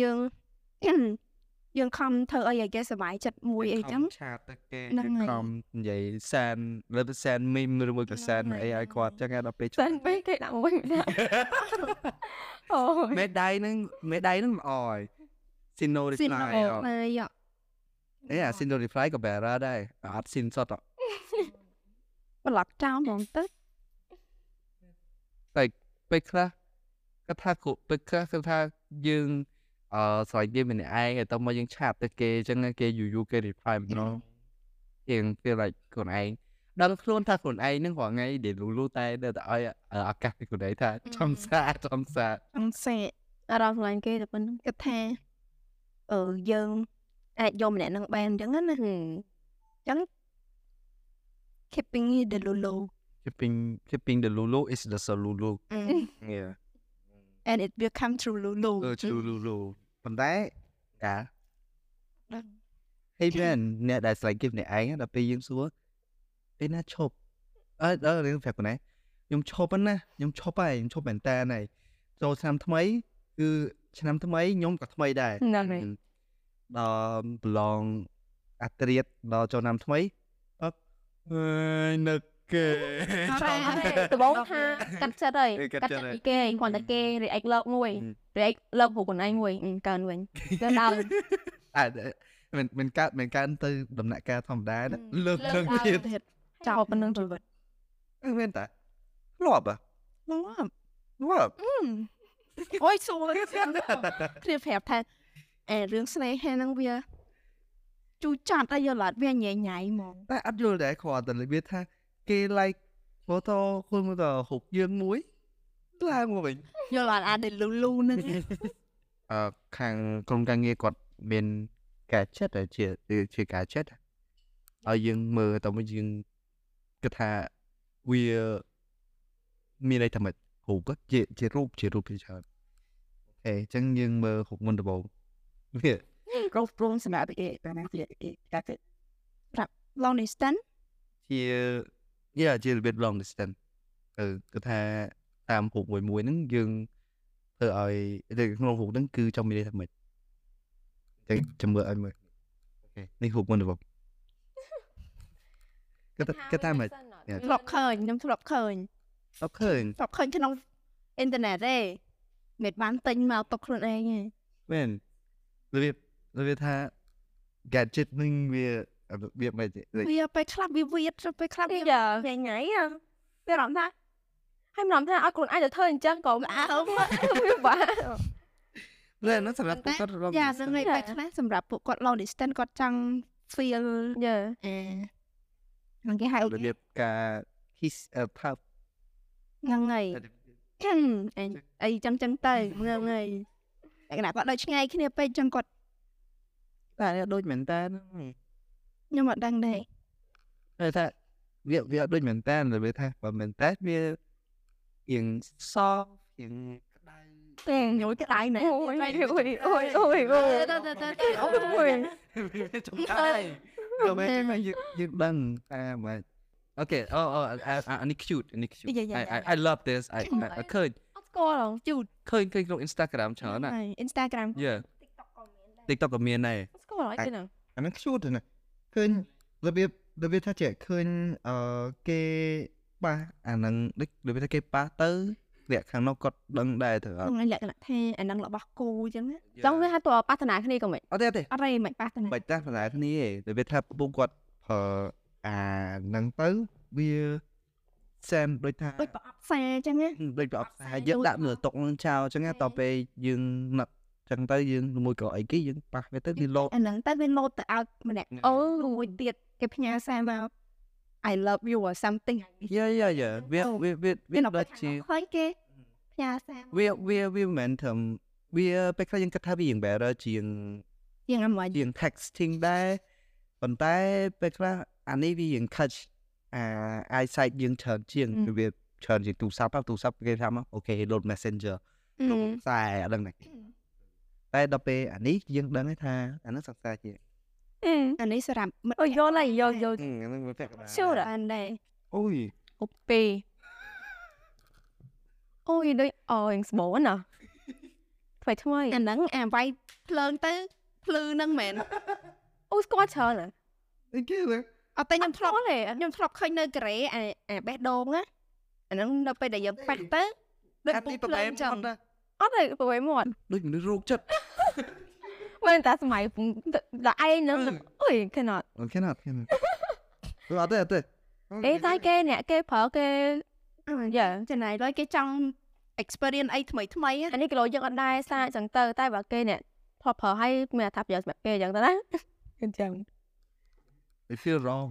យើង [clears throat] យើងខំធ្វើអីឲ្យគេសុបាយចិត្តមួយអីចឹង ឆាតទៅគេ ហ្នឹងហើយ ខំនិយាយសានលើទៅសានមីមឬមួយក៏សាន ហ្នឹងហើយ អីឲ្យគាត់ចឹងឯងដល់ពេល តែពេលគេដាក់មួយមិនដែរ [laughs] អូយ មេដៃហ្នឹងមេដៃហ្នឹងល្អហើយ Sino ស៊ីន reply អូ អត់ អីយ៉ា អេអា Sino reply ក៏ better ដែរអត់ Sin សត ប្លុកចោលហ្មងទៅ ពេលខ្លះគាត់ថាគ្រូពេលខ្លះគាត់ថាយើងអឺស្រឡាញ់គេម្នាក់ឯងតែមកយើងឆាតទៅគេចឹងគេយូរយូរគេ reply ម្ដង យើង feel like ខ្លួនឯងដឹងខ្លួនថាខ្លួនឯងហ្នឹងរាល់ថ្ងៃដែលលូលូតែនៅតែឲ្យឱកាសពីខ្លួនឯងថាចំសាចំសា អំសេ អារម្មណ៍ខ្លាញ់គេតែប៉ុណ្្នឹង គិតថាអឺយើងអាចយកម្នាក់ហ្នឹងបានអញ្ចឹងណា keeping it the lulu shipping shipping the lulu is the lulu yeah and it will come through lulu អឺ true lulu ប៉ុន្តែកា ដឹង Hey man អ្នកដែលស្រឡាញ់គេម្នាក់ឯងដល់ពេលយើងសួរពេលណាឈប់អឺដល់រឿងប្រាប់ប៉ុណ្ណេះខ្ញុំឈប់ហ្នឹងណាខ្ញុំឈប់ហើយខ្ញុំឈប់មែនតើហើយចូលឆ្នាំថ្មីគឺឆ្នាំថ្មីខ្ញុំក៏ថ្មីដែរ ហ្នឹងហើយ ដល់ប្រឡងអាត្រៀតដល់ចូលឆ្នាំថ្មីអត់អើយនឹកគេ តែដបងថាកាត់ចិត្តហើយ អឺកាត់ចិត្តហើយ គេគាត់តែគេ react លើកមួយ អឺ react លើកពួកខ្លួនឯងមួយអឺកើនវិញទៅដល់ [laughs] អត់មិនមិនកើតមិនកើតទៅដំណាក់កាលធម្មតាណា អឺ លើក លើកលើក ឡើង ទៀត ចោលប៉ុណ្្នឹងជីវិត អឺមែនតាធ្លាប់អ្ហ៎ ហ្នឹង ធ្លាប់ [laughs] អូយសួរ [laughs] គ្នាប្រាប់ថាអែរឿងស្នេហាហ្នឹងវាជូរចត់តែយល់អត់វាញ៉ៃញ៉ៃហ្មង តែអត់យល់ដែរគ្រាន់តែវាថាគេ like photo ខ្លួនមកដល់រូបយើងមួយឡើងមកវិញ យល់អត់អាដែលលូលូហ្នឹង [laughs] អឺខាងក្រុមការងារគាត់មានការចិត្តដែលជាជាការចិត្តហើយយើងមើលតើមកយើងគិតថាវាមានអីថាម៉េចរូបជាជារូបជារូបជាច្រើនអូខេអញ្ចឹងយើងមើលរូបមុនដំបូងវា growth room សម្រាប់គេតែណាគេតែគេ long distance ជាយាជារបៀប long distance គឺគឺថាតាមរូបមួយមួយហ្នឹងយើងធ្វើឲ្យដូចក្នុងរូបហ្នឹងគឺចង់មានន័យថាម៉េចអញ្ចឹងចាំមើលឲ្យមើលអូខេនេះរូបមុនដំបូងគឺថាគឺថាម៉េច Yeah. ធ្លាប់ឃើញខ្ញុំធ្លាប់ឃើញ អត់ឃើញ ធ្លាប់ឃើញក្នុងអ៊ីនធឺណិតទេមិនបានទិញមកទុកខ្លួនឯងទេ មែនរបៀបរបៀបថា gadget ហ្នឹងវារបៀបម៉េចដូច វាពេលខ្លះវាវាទៅពេលខ្លះវា ពី ញ យ៉ា ៉ៃញ៉ៃអ่ะ តែរំថាហើយមិនរំថាឲ្យខ្លួនឯងទៅធ្វើអញ្ចឹងក៏មិនអើ [laughs] វាបាក់ តែហ្នឹងសម្រាប់ពួកគាត់ long យ៉ា distance ហ្នឹងឯងពេលខ្លះសម្រាប់ពួកគាត់ long distance គាត់ចង់ feel យើ អឺហ្នឹងគេហៅ របៀបការ kiss អឺថា ហ្នឹងហើយ អី [coughs] អីចឹងចឹងទៅហ្នឹងហើយតែគណៈគាត់ដូចឆ្ងាយគ្នាពេកចឹងគាត់ តែដូចមែនតើ ខ្ញុំអត់ដឹងដែរ តែថាវាវាអត់ដូចមែនតើតែវាថាបើមែនតើវាជាងសជាងក្តៅ តែញយក្តៅណាស់ អូយអូយអូយអូយអូយអូយ វាចង្កាយក៏មិនយើងយើងដឹងតែមក Okay oh oh I, I, I, I cute I cute Yeah, yeah, I, I yeah. I love this I I, I ឃើញ អត់ស្គាល់ហងជូត ឃើញឃើញក្នុង Instagram ច្រើនណាស់ Instagram Yeah TikTok ក៏មានដែអរត់ស្គាល់អីទេហ្នឹង អាហ្នឹងខ្ជូតទៅណាឃើញរបៀបរបៀបថាចេះឃើញអឺគេ ប៉ះអាហ្នឹងដូចរបៀបថាគេប៉ះទៅអ្នកខាងនោះគាត់ដឹងដែរត្រូវអត់ ហ្នឹងហើយលក្ខណៈថាអានឹងរបស់គូចឹងណា ចង់វាថាតើប៉ាធនាគ្នាក៏មិន អត់ទេអត់ទេ អត់ទេមិនប៉ះទៅណា បាច់តាស់បណ្ដាគ្នាឯងរបៀបថាពុកគាត់ប្រើអាហ្នឹងទៅវាសែមដូចថា ដូចប្រអប់ខ្សាចឹងណា ដូចប្រអប់ខ្សែយើងដាក់មើលតុកនឹងចោលអញ្ចឹងណាតទៅពេលយើងណាត់អញ្ចឹងទៅយើងមួយក៏អីគេយើងប៉ះវាទៅវាលោត អាហ្នឹងតែវាលោតទៅឲ្យម្នាក់អូមួយទៀតគេផ្ញើសារមក I love you or something យាយាយាវាវាវាវា នៅ ដូចជា ខ្វាញ់គេផ្ញើសារ វាវាវាមិនមែនធំវាពេលខ្លះយើងគិតថាវាយ៉ាង better ជាង យ៉ាងអាមួយ ជាង texting ដែរប៉ុន្តែពេលខ្លះអានេះវាយើង catch អា eyesight យើងច្រើនជាងវាច្រើនជាងទូរស័ព្ទហ្នឹងទូរស័ព្ទគេថាមកអូខេ load messenger ក្នុងខ្សែអត់ដឹងណាតែដល់ពេលអានេះយើងដឹងហើយថាអាហ្នឹងសិក្សាជាង អានេះសម្រាប់មិត្ត អូយយល់ហើយយល់យល់ អាហ្នឹងវាពាក់កណ្ដាល Sure អានដែរ អូយ អូពេអូយដូចអរយ៉ាងស្បូនណាថ្មីថ្មី អាហ្នឹងអាវាយភ្លើងទៅភ្លឺហ្នឹងមែន អូស្គាល់ច្រើនណាស់ អីគេហ្នឹង អត់តែខ្ញុំធ្លាប់ ស្គាល់ទេ ខ្ញុំធ្លាប់ឃើញនៅកូរ៉េអាអាបេះដូងណាអាហ្នឹងដល់ពេលដែលយើងប៉ះទៅដូច អា ពុ ទី ក ប្រ ភ្លើ បែ ង ម ចឹ ចឹ ង ង អត់ទេប្រហែលមក ដូចមនុស្សរោគចិត្ត មិនតែសម័យដល់ឯងហ្នឹងអូយ cannot អូខេណាអូខេណាអត់ទេអត់ទេ អេតែគេអ្នកគេប្រើគេយ៉ា ចំណាយលុយគេចង់ experience អីថ្មីថ្មីៗណា អានេះគីឡូយើងអត់ដែរសាកចឹងទៅតែបើគេអ្នកធ្លាប់ប្រើឲ្យមានអត្ថប្រយោជន៍សម្រាប់គេចឹងទៅ [laughs] ណាអញ្ចឹង I feel wrong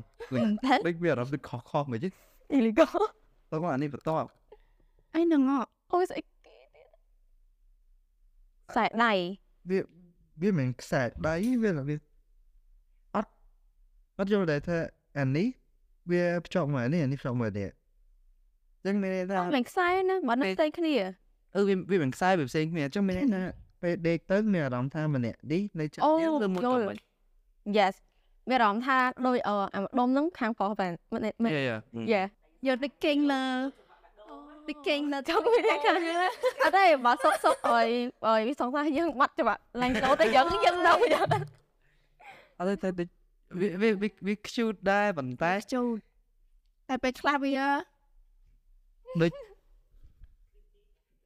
តែ like we are of the cock cock មកជិះ illegal តោះមកអានេះបន្ត អីហ្នឹងហ៎ អូយស្អីគេទៀតខ្សែដៃ វាវាមិនខ្សែដៃវាវាអត់អត់យល់ដែរថាអានេះវាភ្ជាប់មកអានេះអានេះភ្ជាប់មកអានេះអញ្ចឹងមានន័យថា មិនខ្សែណាបើនៅផ្ទៃគ្នា អឺវាវាមិនខ្សែវាផ្សេងគ្នាអញ្ចឹងមានន័យថា ពេលដេកទៅមានអារម្មណ៍ថាម្នាក់នេះនៅចិត្ត អូយ យើ យ ង ល់ លើមួយក៏មិន yes មានអារម្មណ៍ថាដូចអអាម្ដុំហ្នឹងខាងប្រុសបែបមិនមិន Yeah, yeah. យេ យកទៅគេងលើទៅគេ [laughs] ងលើ ចង់មានខាង [laughs] អត់ទេបើសុកសុកអើយអើយវាសង្សារយើងបាត់ច្បាប់ឡើងចូលទៅយើងយើងនៅយ៉ាង អត់ទេតែវាវាវាវា cute ដែរប៉ុន្តែ តែចូលតែពេលខ្លះវា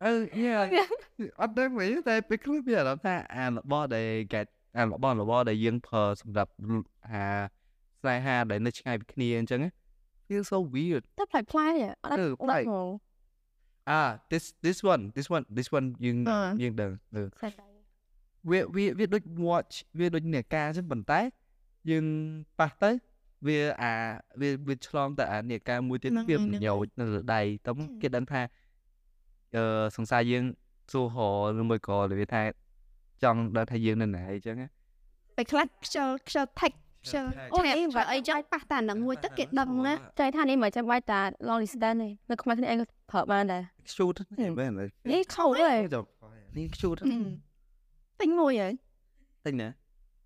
អឺ yeah អត់ដឹងវិញតែពេលខ្លះវាអារម្មណ៍ថាអារបស់ដែលកែអារបស់របស់ដែលយើងប្រើសម្រាប់អាស្នេហាដែលនៅឆ្ងាយពីគ្នាអញ្ចឹងណា feel so weird តែផ្លែផ្លែអត់ អឺ ដា បែ ច់ ក ហ្មង អា À, this this one this one this one យើងយើងដឹងអឺ ខ្សែដៃ វាវាវាដូច watch វាដូចនាฬิកាអញ្ចឹងប៉ុន្តែយើងប៉ះទៅវាអាវាវាឆ្លងទៅអានាฬิកាមួយទៀតវាប្រញោចនៅលើដៃទៅគេដឹងថាអឺសង្សារយើងសួរហៅឬមួយក៏វាថាចង់ដឹងថាយើងនៅណាអញ្ចឹងណា ពេលខ្លះខ្ជិលខ្ជិល tag ខ្ជិលអូអីបើអីចង់ប៉ះតាហ្នឹងមួយទឹកគេដឹងណា ចៃថានេះមិនចាំបាច់តា long distance ទេនៅខ្មែរគ្នាឯងក៏ប្រើបានដែរ ខ្ជូតមែនមែន នេះខោទេ ចុះ នេះខ្ជូត Ừ. [laughs] ពេញមួយហើយ តិចណា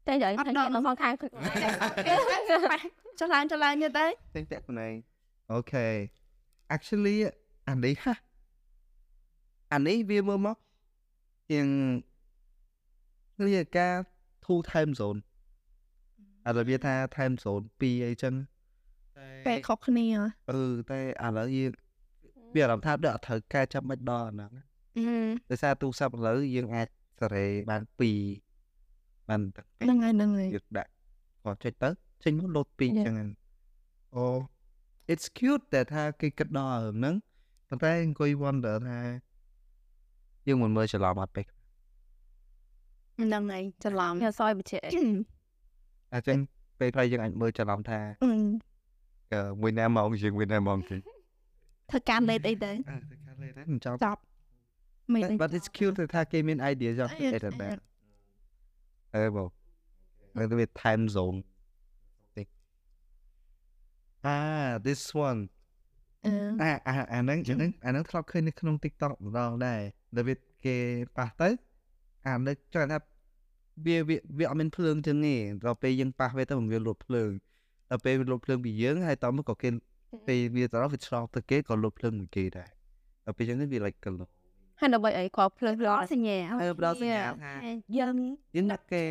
តែយ៉ាងខាងគេនៅខាងគ្នា ចុះឡើងចុះឡើងទៀតទៅ តិចតែខ្លួនឯង អូខេ actually អានេះហា អានេះវាមើលមកជាងនាฬิកា two time zone អារបៀបថា time zone 2អីចឹង ពេលខុសគ្នា អឺតែឥឡូវយើងវាអារម្មណ៍ថាដូចអត់ត្រូវកែចាំមិនដល់អាហ្នឹងដោយសារទូរស័ព្ទឥឡូវយើងអាចសេរីបាន2បានទឹក ហ្នឹងហើយហ្នឹងហើយ យើងដាក់គាត់ចុចទៅចេញមកលោត2អញ្ចឹងហ្នឹង អូ it's cute តែថាគេគិតដល់អាហ្នឹង ប៉ុន្តែអង្គុយ wonder ថា យើងមិនមើលច្រឡំអត់ពេក ហ្នឹងហើយច្រឡំ ខ្ញុំសយបជា អញ្ចឹងពេលខ្លះយើងអាចមើលច្រឡំថា អ [laughs] ឺអឺមួយណាម៉ោងជាងមួយណាម៉ោងគេ ធ្វើការលេតអីទៅ អើទៅកាត់លេតហ្នឹងចប់ ចប់ មិនទេ but it's cute ថាគេមាន idea ចង់ Yes, create បែប yes. អឺបងហើយទៅ time zone Ah this one អឺ អាអាអាហ្នឹងអាហ្នឹងអាហ្នឹងធ្លាប់ឃើញនៅក្នុង TikTok ម្ដងដែរដែលវាគេប៉ះទៅអានឹកចង់ថាវាវាវាអត់មានភ្លើងជាងនេះដល់ពេលយើងប៉ះវាទៅមិនវាលុបភ្លើងដល់ពេលវាលុបភ្លើងពីយើងហើយតមកក៏គេពេលវាទៅដល់វាឆ្លងទៅគេក៏លុបភ្លើងមួយគេដែរដល់ពេលចឹងនេះវា like កល ហើយដើម្បីអីគាត់ភ្លើងល្អផ្ដល់សញ្ញា អឺផ្ដល់សញ្ញាថា យើង យើងដាក់គេ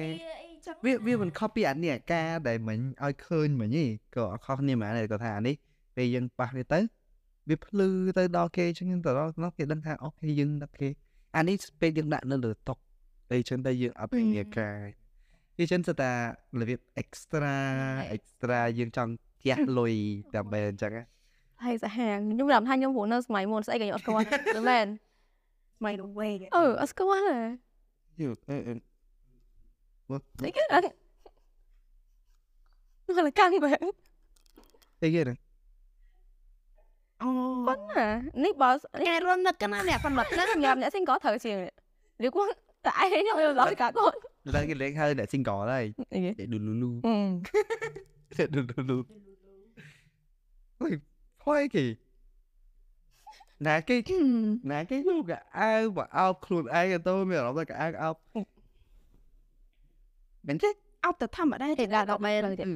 វាវាមិនខុសពីអានេះអាការដែលមិញឲ្យឃើញមិញទេក៏អត់ខុសគ្នាហ្មងដែរក៏ថាអានេះពេលយើងប៉ះវាទៅវាភ្លឺទៅដល់គេចឹងទៅដល់នោះគេដឹងថាអូខេយើងដាក់គេអានេះពេលយើងដាក់នៅលើតុកអីចឹងទៅយើងអត់មានអាការវាចឹងស្ទើរតែរបៀប extra extra យើងចង់ជះលុយតែបែបអញ្ចឹងណា ហើយសាហាងខ្ញុំរំថាខ្ញុំព្រោះនៅសម័យមុនស្អីក៏ខ្ញុំអត់ស្គាល់ដែរមែន មិនវេ អឺអត់ស្គាល់ហ៎ យូអឺអឺ អីគេអត់មកលកាំងបែប អីគេហ្នឹង អូ ប៉ុណ្ណានេះបើ គេរំលឹកកណាអ្នកប៉ុណ្ណឹង នឹងញ៉ាំអ្នកសិនក៏ត្រូវជាងឬគាត់តែឯងខ្ញុំឡោះកាគាត់ ដល់គេលេងហើយអ្នក single ហើយ អីគេ អ្នក Lulu អឺ អ្នក Lulu អុយខ្វាយគេណាគេ ណាគេយកកៅអៅមកអោបខ្លួនឯងទៅមានអារម្មណ៍ថាកៅអៅអោបមែនទេ អត់ទៅធម្មតាទេ គេដាក់ដល់បែរទៅទៀត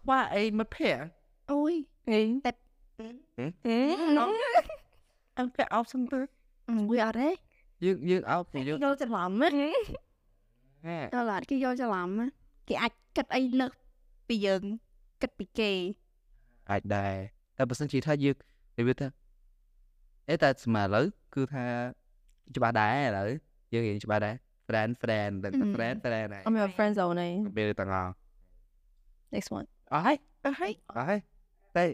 ខ្វះអីមិត្តភ័ក្តិ អូយ អីតែអឺ អត់ទៅអត់សំទើ វាអត់ទេ យើងយើងអោបពីយើង យល់ច្រឡំ មិន ហេ ដល់ឡាគេយល់ច្រឡំណាគេអាចគិតអីលើសពីយើងគិតពីគេ អាចដែរតែបើសិនជាថាយើងនិយាយថាអេតែស្មើឥឡូវគឺថាច្បាស់ដែរឥឡូវយើងរៀនច្បាស់ដែរ friend friend ដឹងថា friend friend ហើយ អម friend zone ណៃ ពេលទាំងអស់ next one អស់ហើយ អត់ហើយ អស់ហើយតែ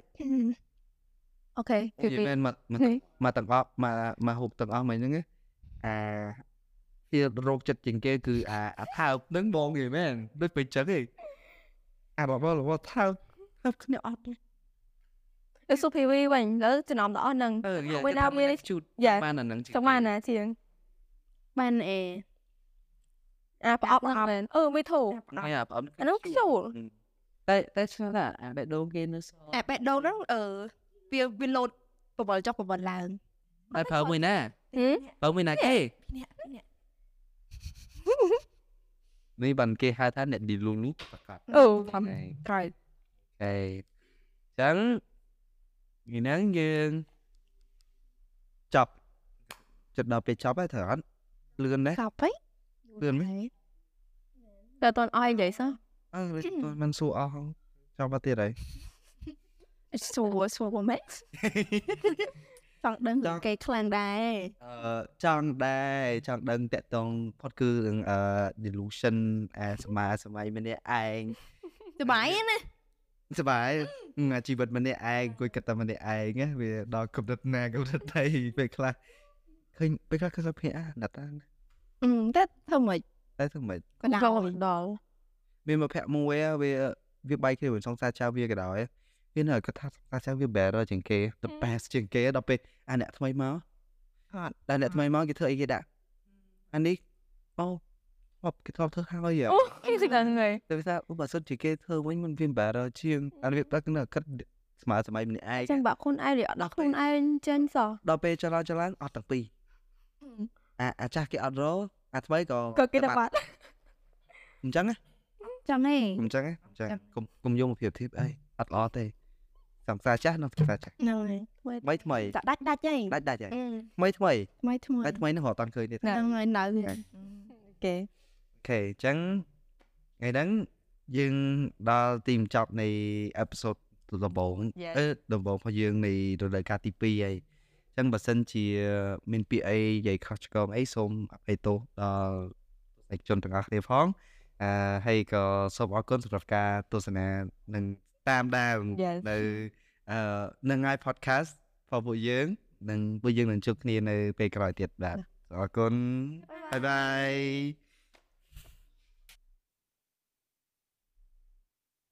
អូខេគឺ និ ពី យាយមែនមកមកមកទាំងអស់មកមកហូបទាំងអស់មកហ្នឹងឯងអាវារោគចិត្តជាងគេគឺអាអាថើបហ្នឹងបងគេមែនដូចពេលចឹងឯង អាបបលរបស់ថើប ទៅគ្នាអត់ទេ ទៅសុភីវីវិញឥឡូវចំណោមទាំងអស់ហ្នឹង អឺ វាណាមាន ជូត យ៉ា បានអាហ្នឹង ចង់បានណាជាង បានអេ អាប្រអប់ហ្នឹងមែនអឺមីធូ អាយ៉ាប្អូន អាហ្នឹងខ្ជូល Ừ. តែតែឆ្លាតណាស់អាបេះដូងគេនៅស អាបេះដូងហ្នឹងអឺវាវាលោតប្រវល់ចុះប្រវល់ឡើង តែប្រើមួយណា ហឹម ប្រើមួយណាគេ [laughs] នេះបានគេហៅថាអ្នកឌីលូនេះប្រកាស អូ ធម្ម ក្រោយ អេចឹងនេះហ្នឹងយើងចប់ចិត្តដល់ពេលចប់ហើយត្រូវអត់លឿនណាស់ ចប់ហើយ លឿនមែន តែតន់អស់និយាយសោះ អើមិនសួរអស់ចង់បាត់ទៀតហើយ សួរសួរមកមែន ចង់ដឹងរឿងគេខ្លាំងដែរ អឺចង់ដែរចង់ដឹងតកតងផុតគឺរឿងអឺ delusion អាសម័យសម័យម្នាក់ឯង សុបាយណា សប្បាយ [laughs] ហ្នឹងអាជីវិតម្នាក់ឯងគួយគិតតែម្នាក់ឯងណាវាដល់កម្រិតណាកម្រិតណីពេលខ្លះឃើញពេលខ្លះគឺសុភាអាណិតណា អឺតែធ្វើមិន តែធ្វើម៉េច ក៏ដា ច ល់ ង់ដល់ មានមកភ័ក្រមួយហ៎វាវាបាយគ្នាមិនសង្សារចៅវាក៏ដោយហ៎វានៅគាត់ថាសង្សារចៅវា better ជាងគេ the best ជាងគេដល់ពេលអាអ្នកថ្មីមក អត់ ដល់អ្នកថ្មីមកគេធ្វើអីគេដាក់អានេះអូអបគេធ្លាប់ធ្វើហើយហ៎ អូ [laughs] គេសិកដល់ហ្នឹងហើយ តែវាថាឧបសគ្គជាគេធ្វើវិញមិនវា better ជាងអានវាបាក់នៅគិតស្មើសម័យម្នាក់ឯង ចឹងបាក់ខ្លួនឯងឬអត់ដល់ខ្លួនឯងចេញសោះ ដល់ពេលចរាចរឡើងអត់ទាំងពីរអាអាចាស់គេអត់រលអាថ្មីក៏ ក៏គេតែបាត់ អញ្ចឹងណា ចង់ទេ អញ្ចឹងណាអញ្ចឹងកុំកុំយកមកប្រៀបធៀបអីអត់ល្អទេសង្សារចាស់និងសង្សារចាស់ ហ្នឹងហើយ ថ្មីថ្មី ចាក់ដាច់ដាច់ហី ដាច់ដាច់ហើយថ្មីថ្មី ថ្មីថ្មី ថ្មីថ្មីហ្នឹងរត់អត់ឃើញទេ ហ្នឹងហើយនៅវា គេ អូខេអញ្ចឹងថ្ងៃហ្នឹងយើងដល់ទីបញ្ចប់នៃអេពីសូតដំបូងអឺដំបូងរបស់យើងនៃរដូវកាលទី2ហើយអញ្ចឹងបើសិនជាមានពាក្យអីនិយាយខុសឆ្គងអីសូមអភ័យទោសដល់ទស្សនិកជនទាំងអស់គ្នាផងអឺហើយក៏សូមអរគុណសម្រាប់ការទស្សនានិងតាមដាន yes នៅអឺនឹងហើយ podcast របស់ពួកយើងនិងពួកយើងនឹងជួបគ្នានៅពេលក្រោយទៀតបាទអរគុណបាយបាយ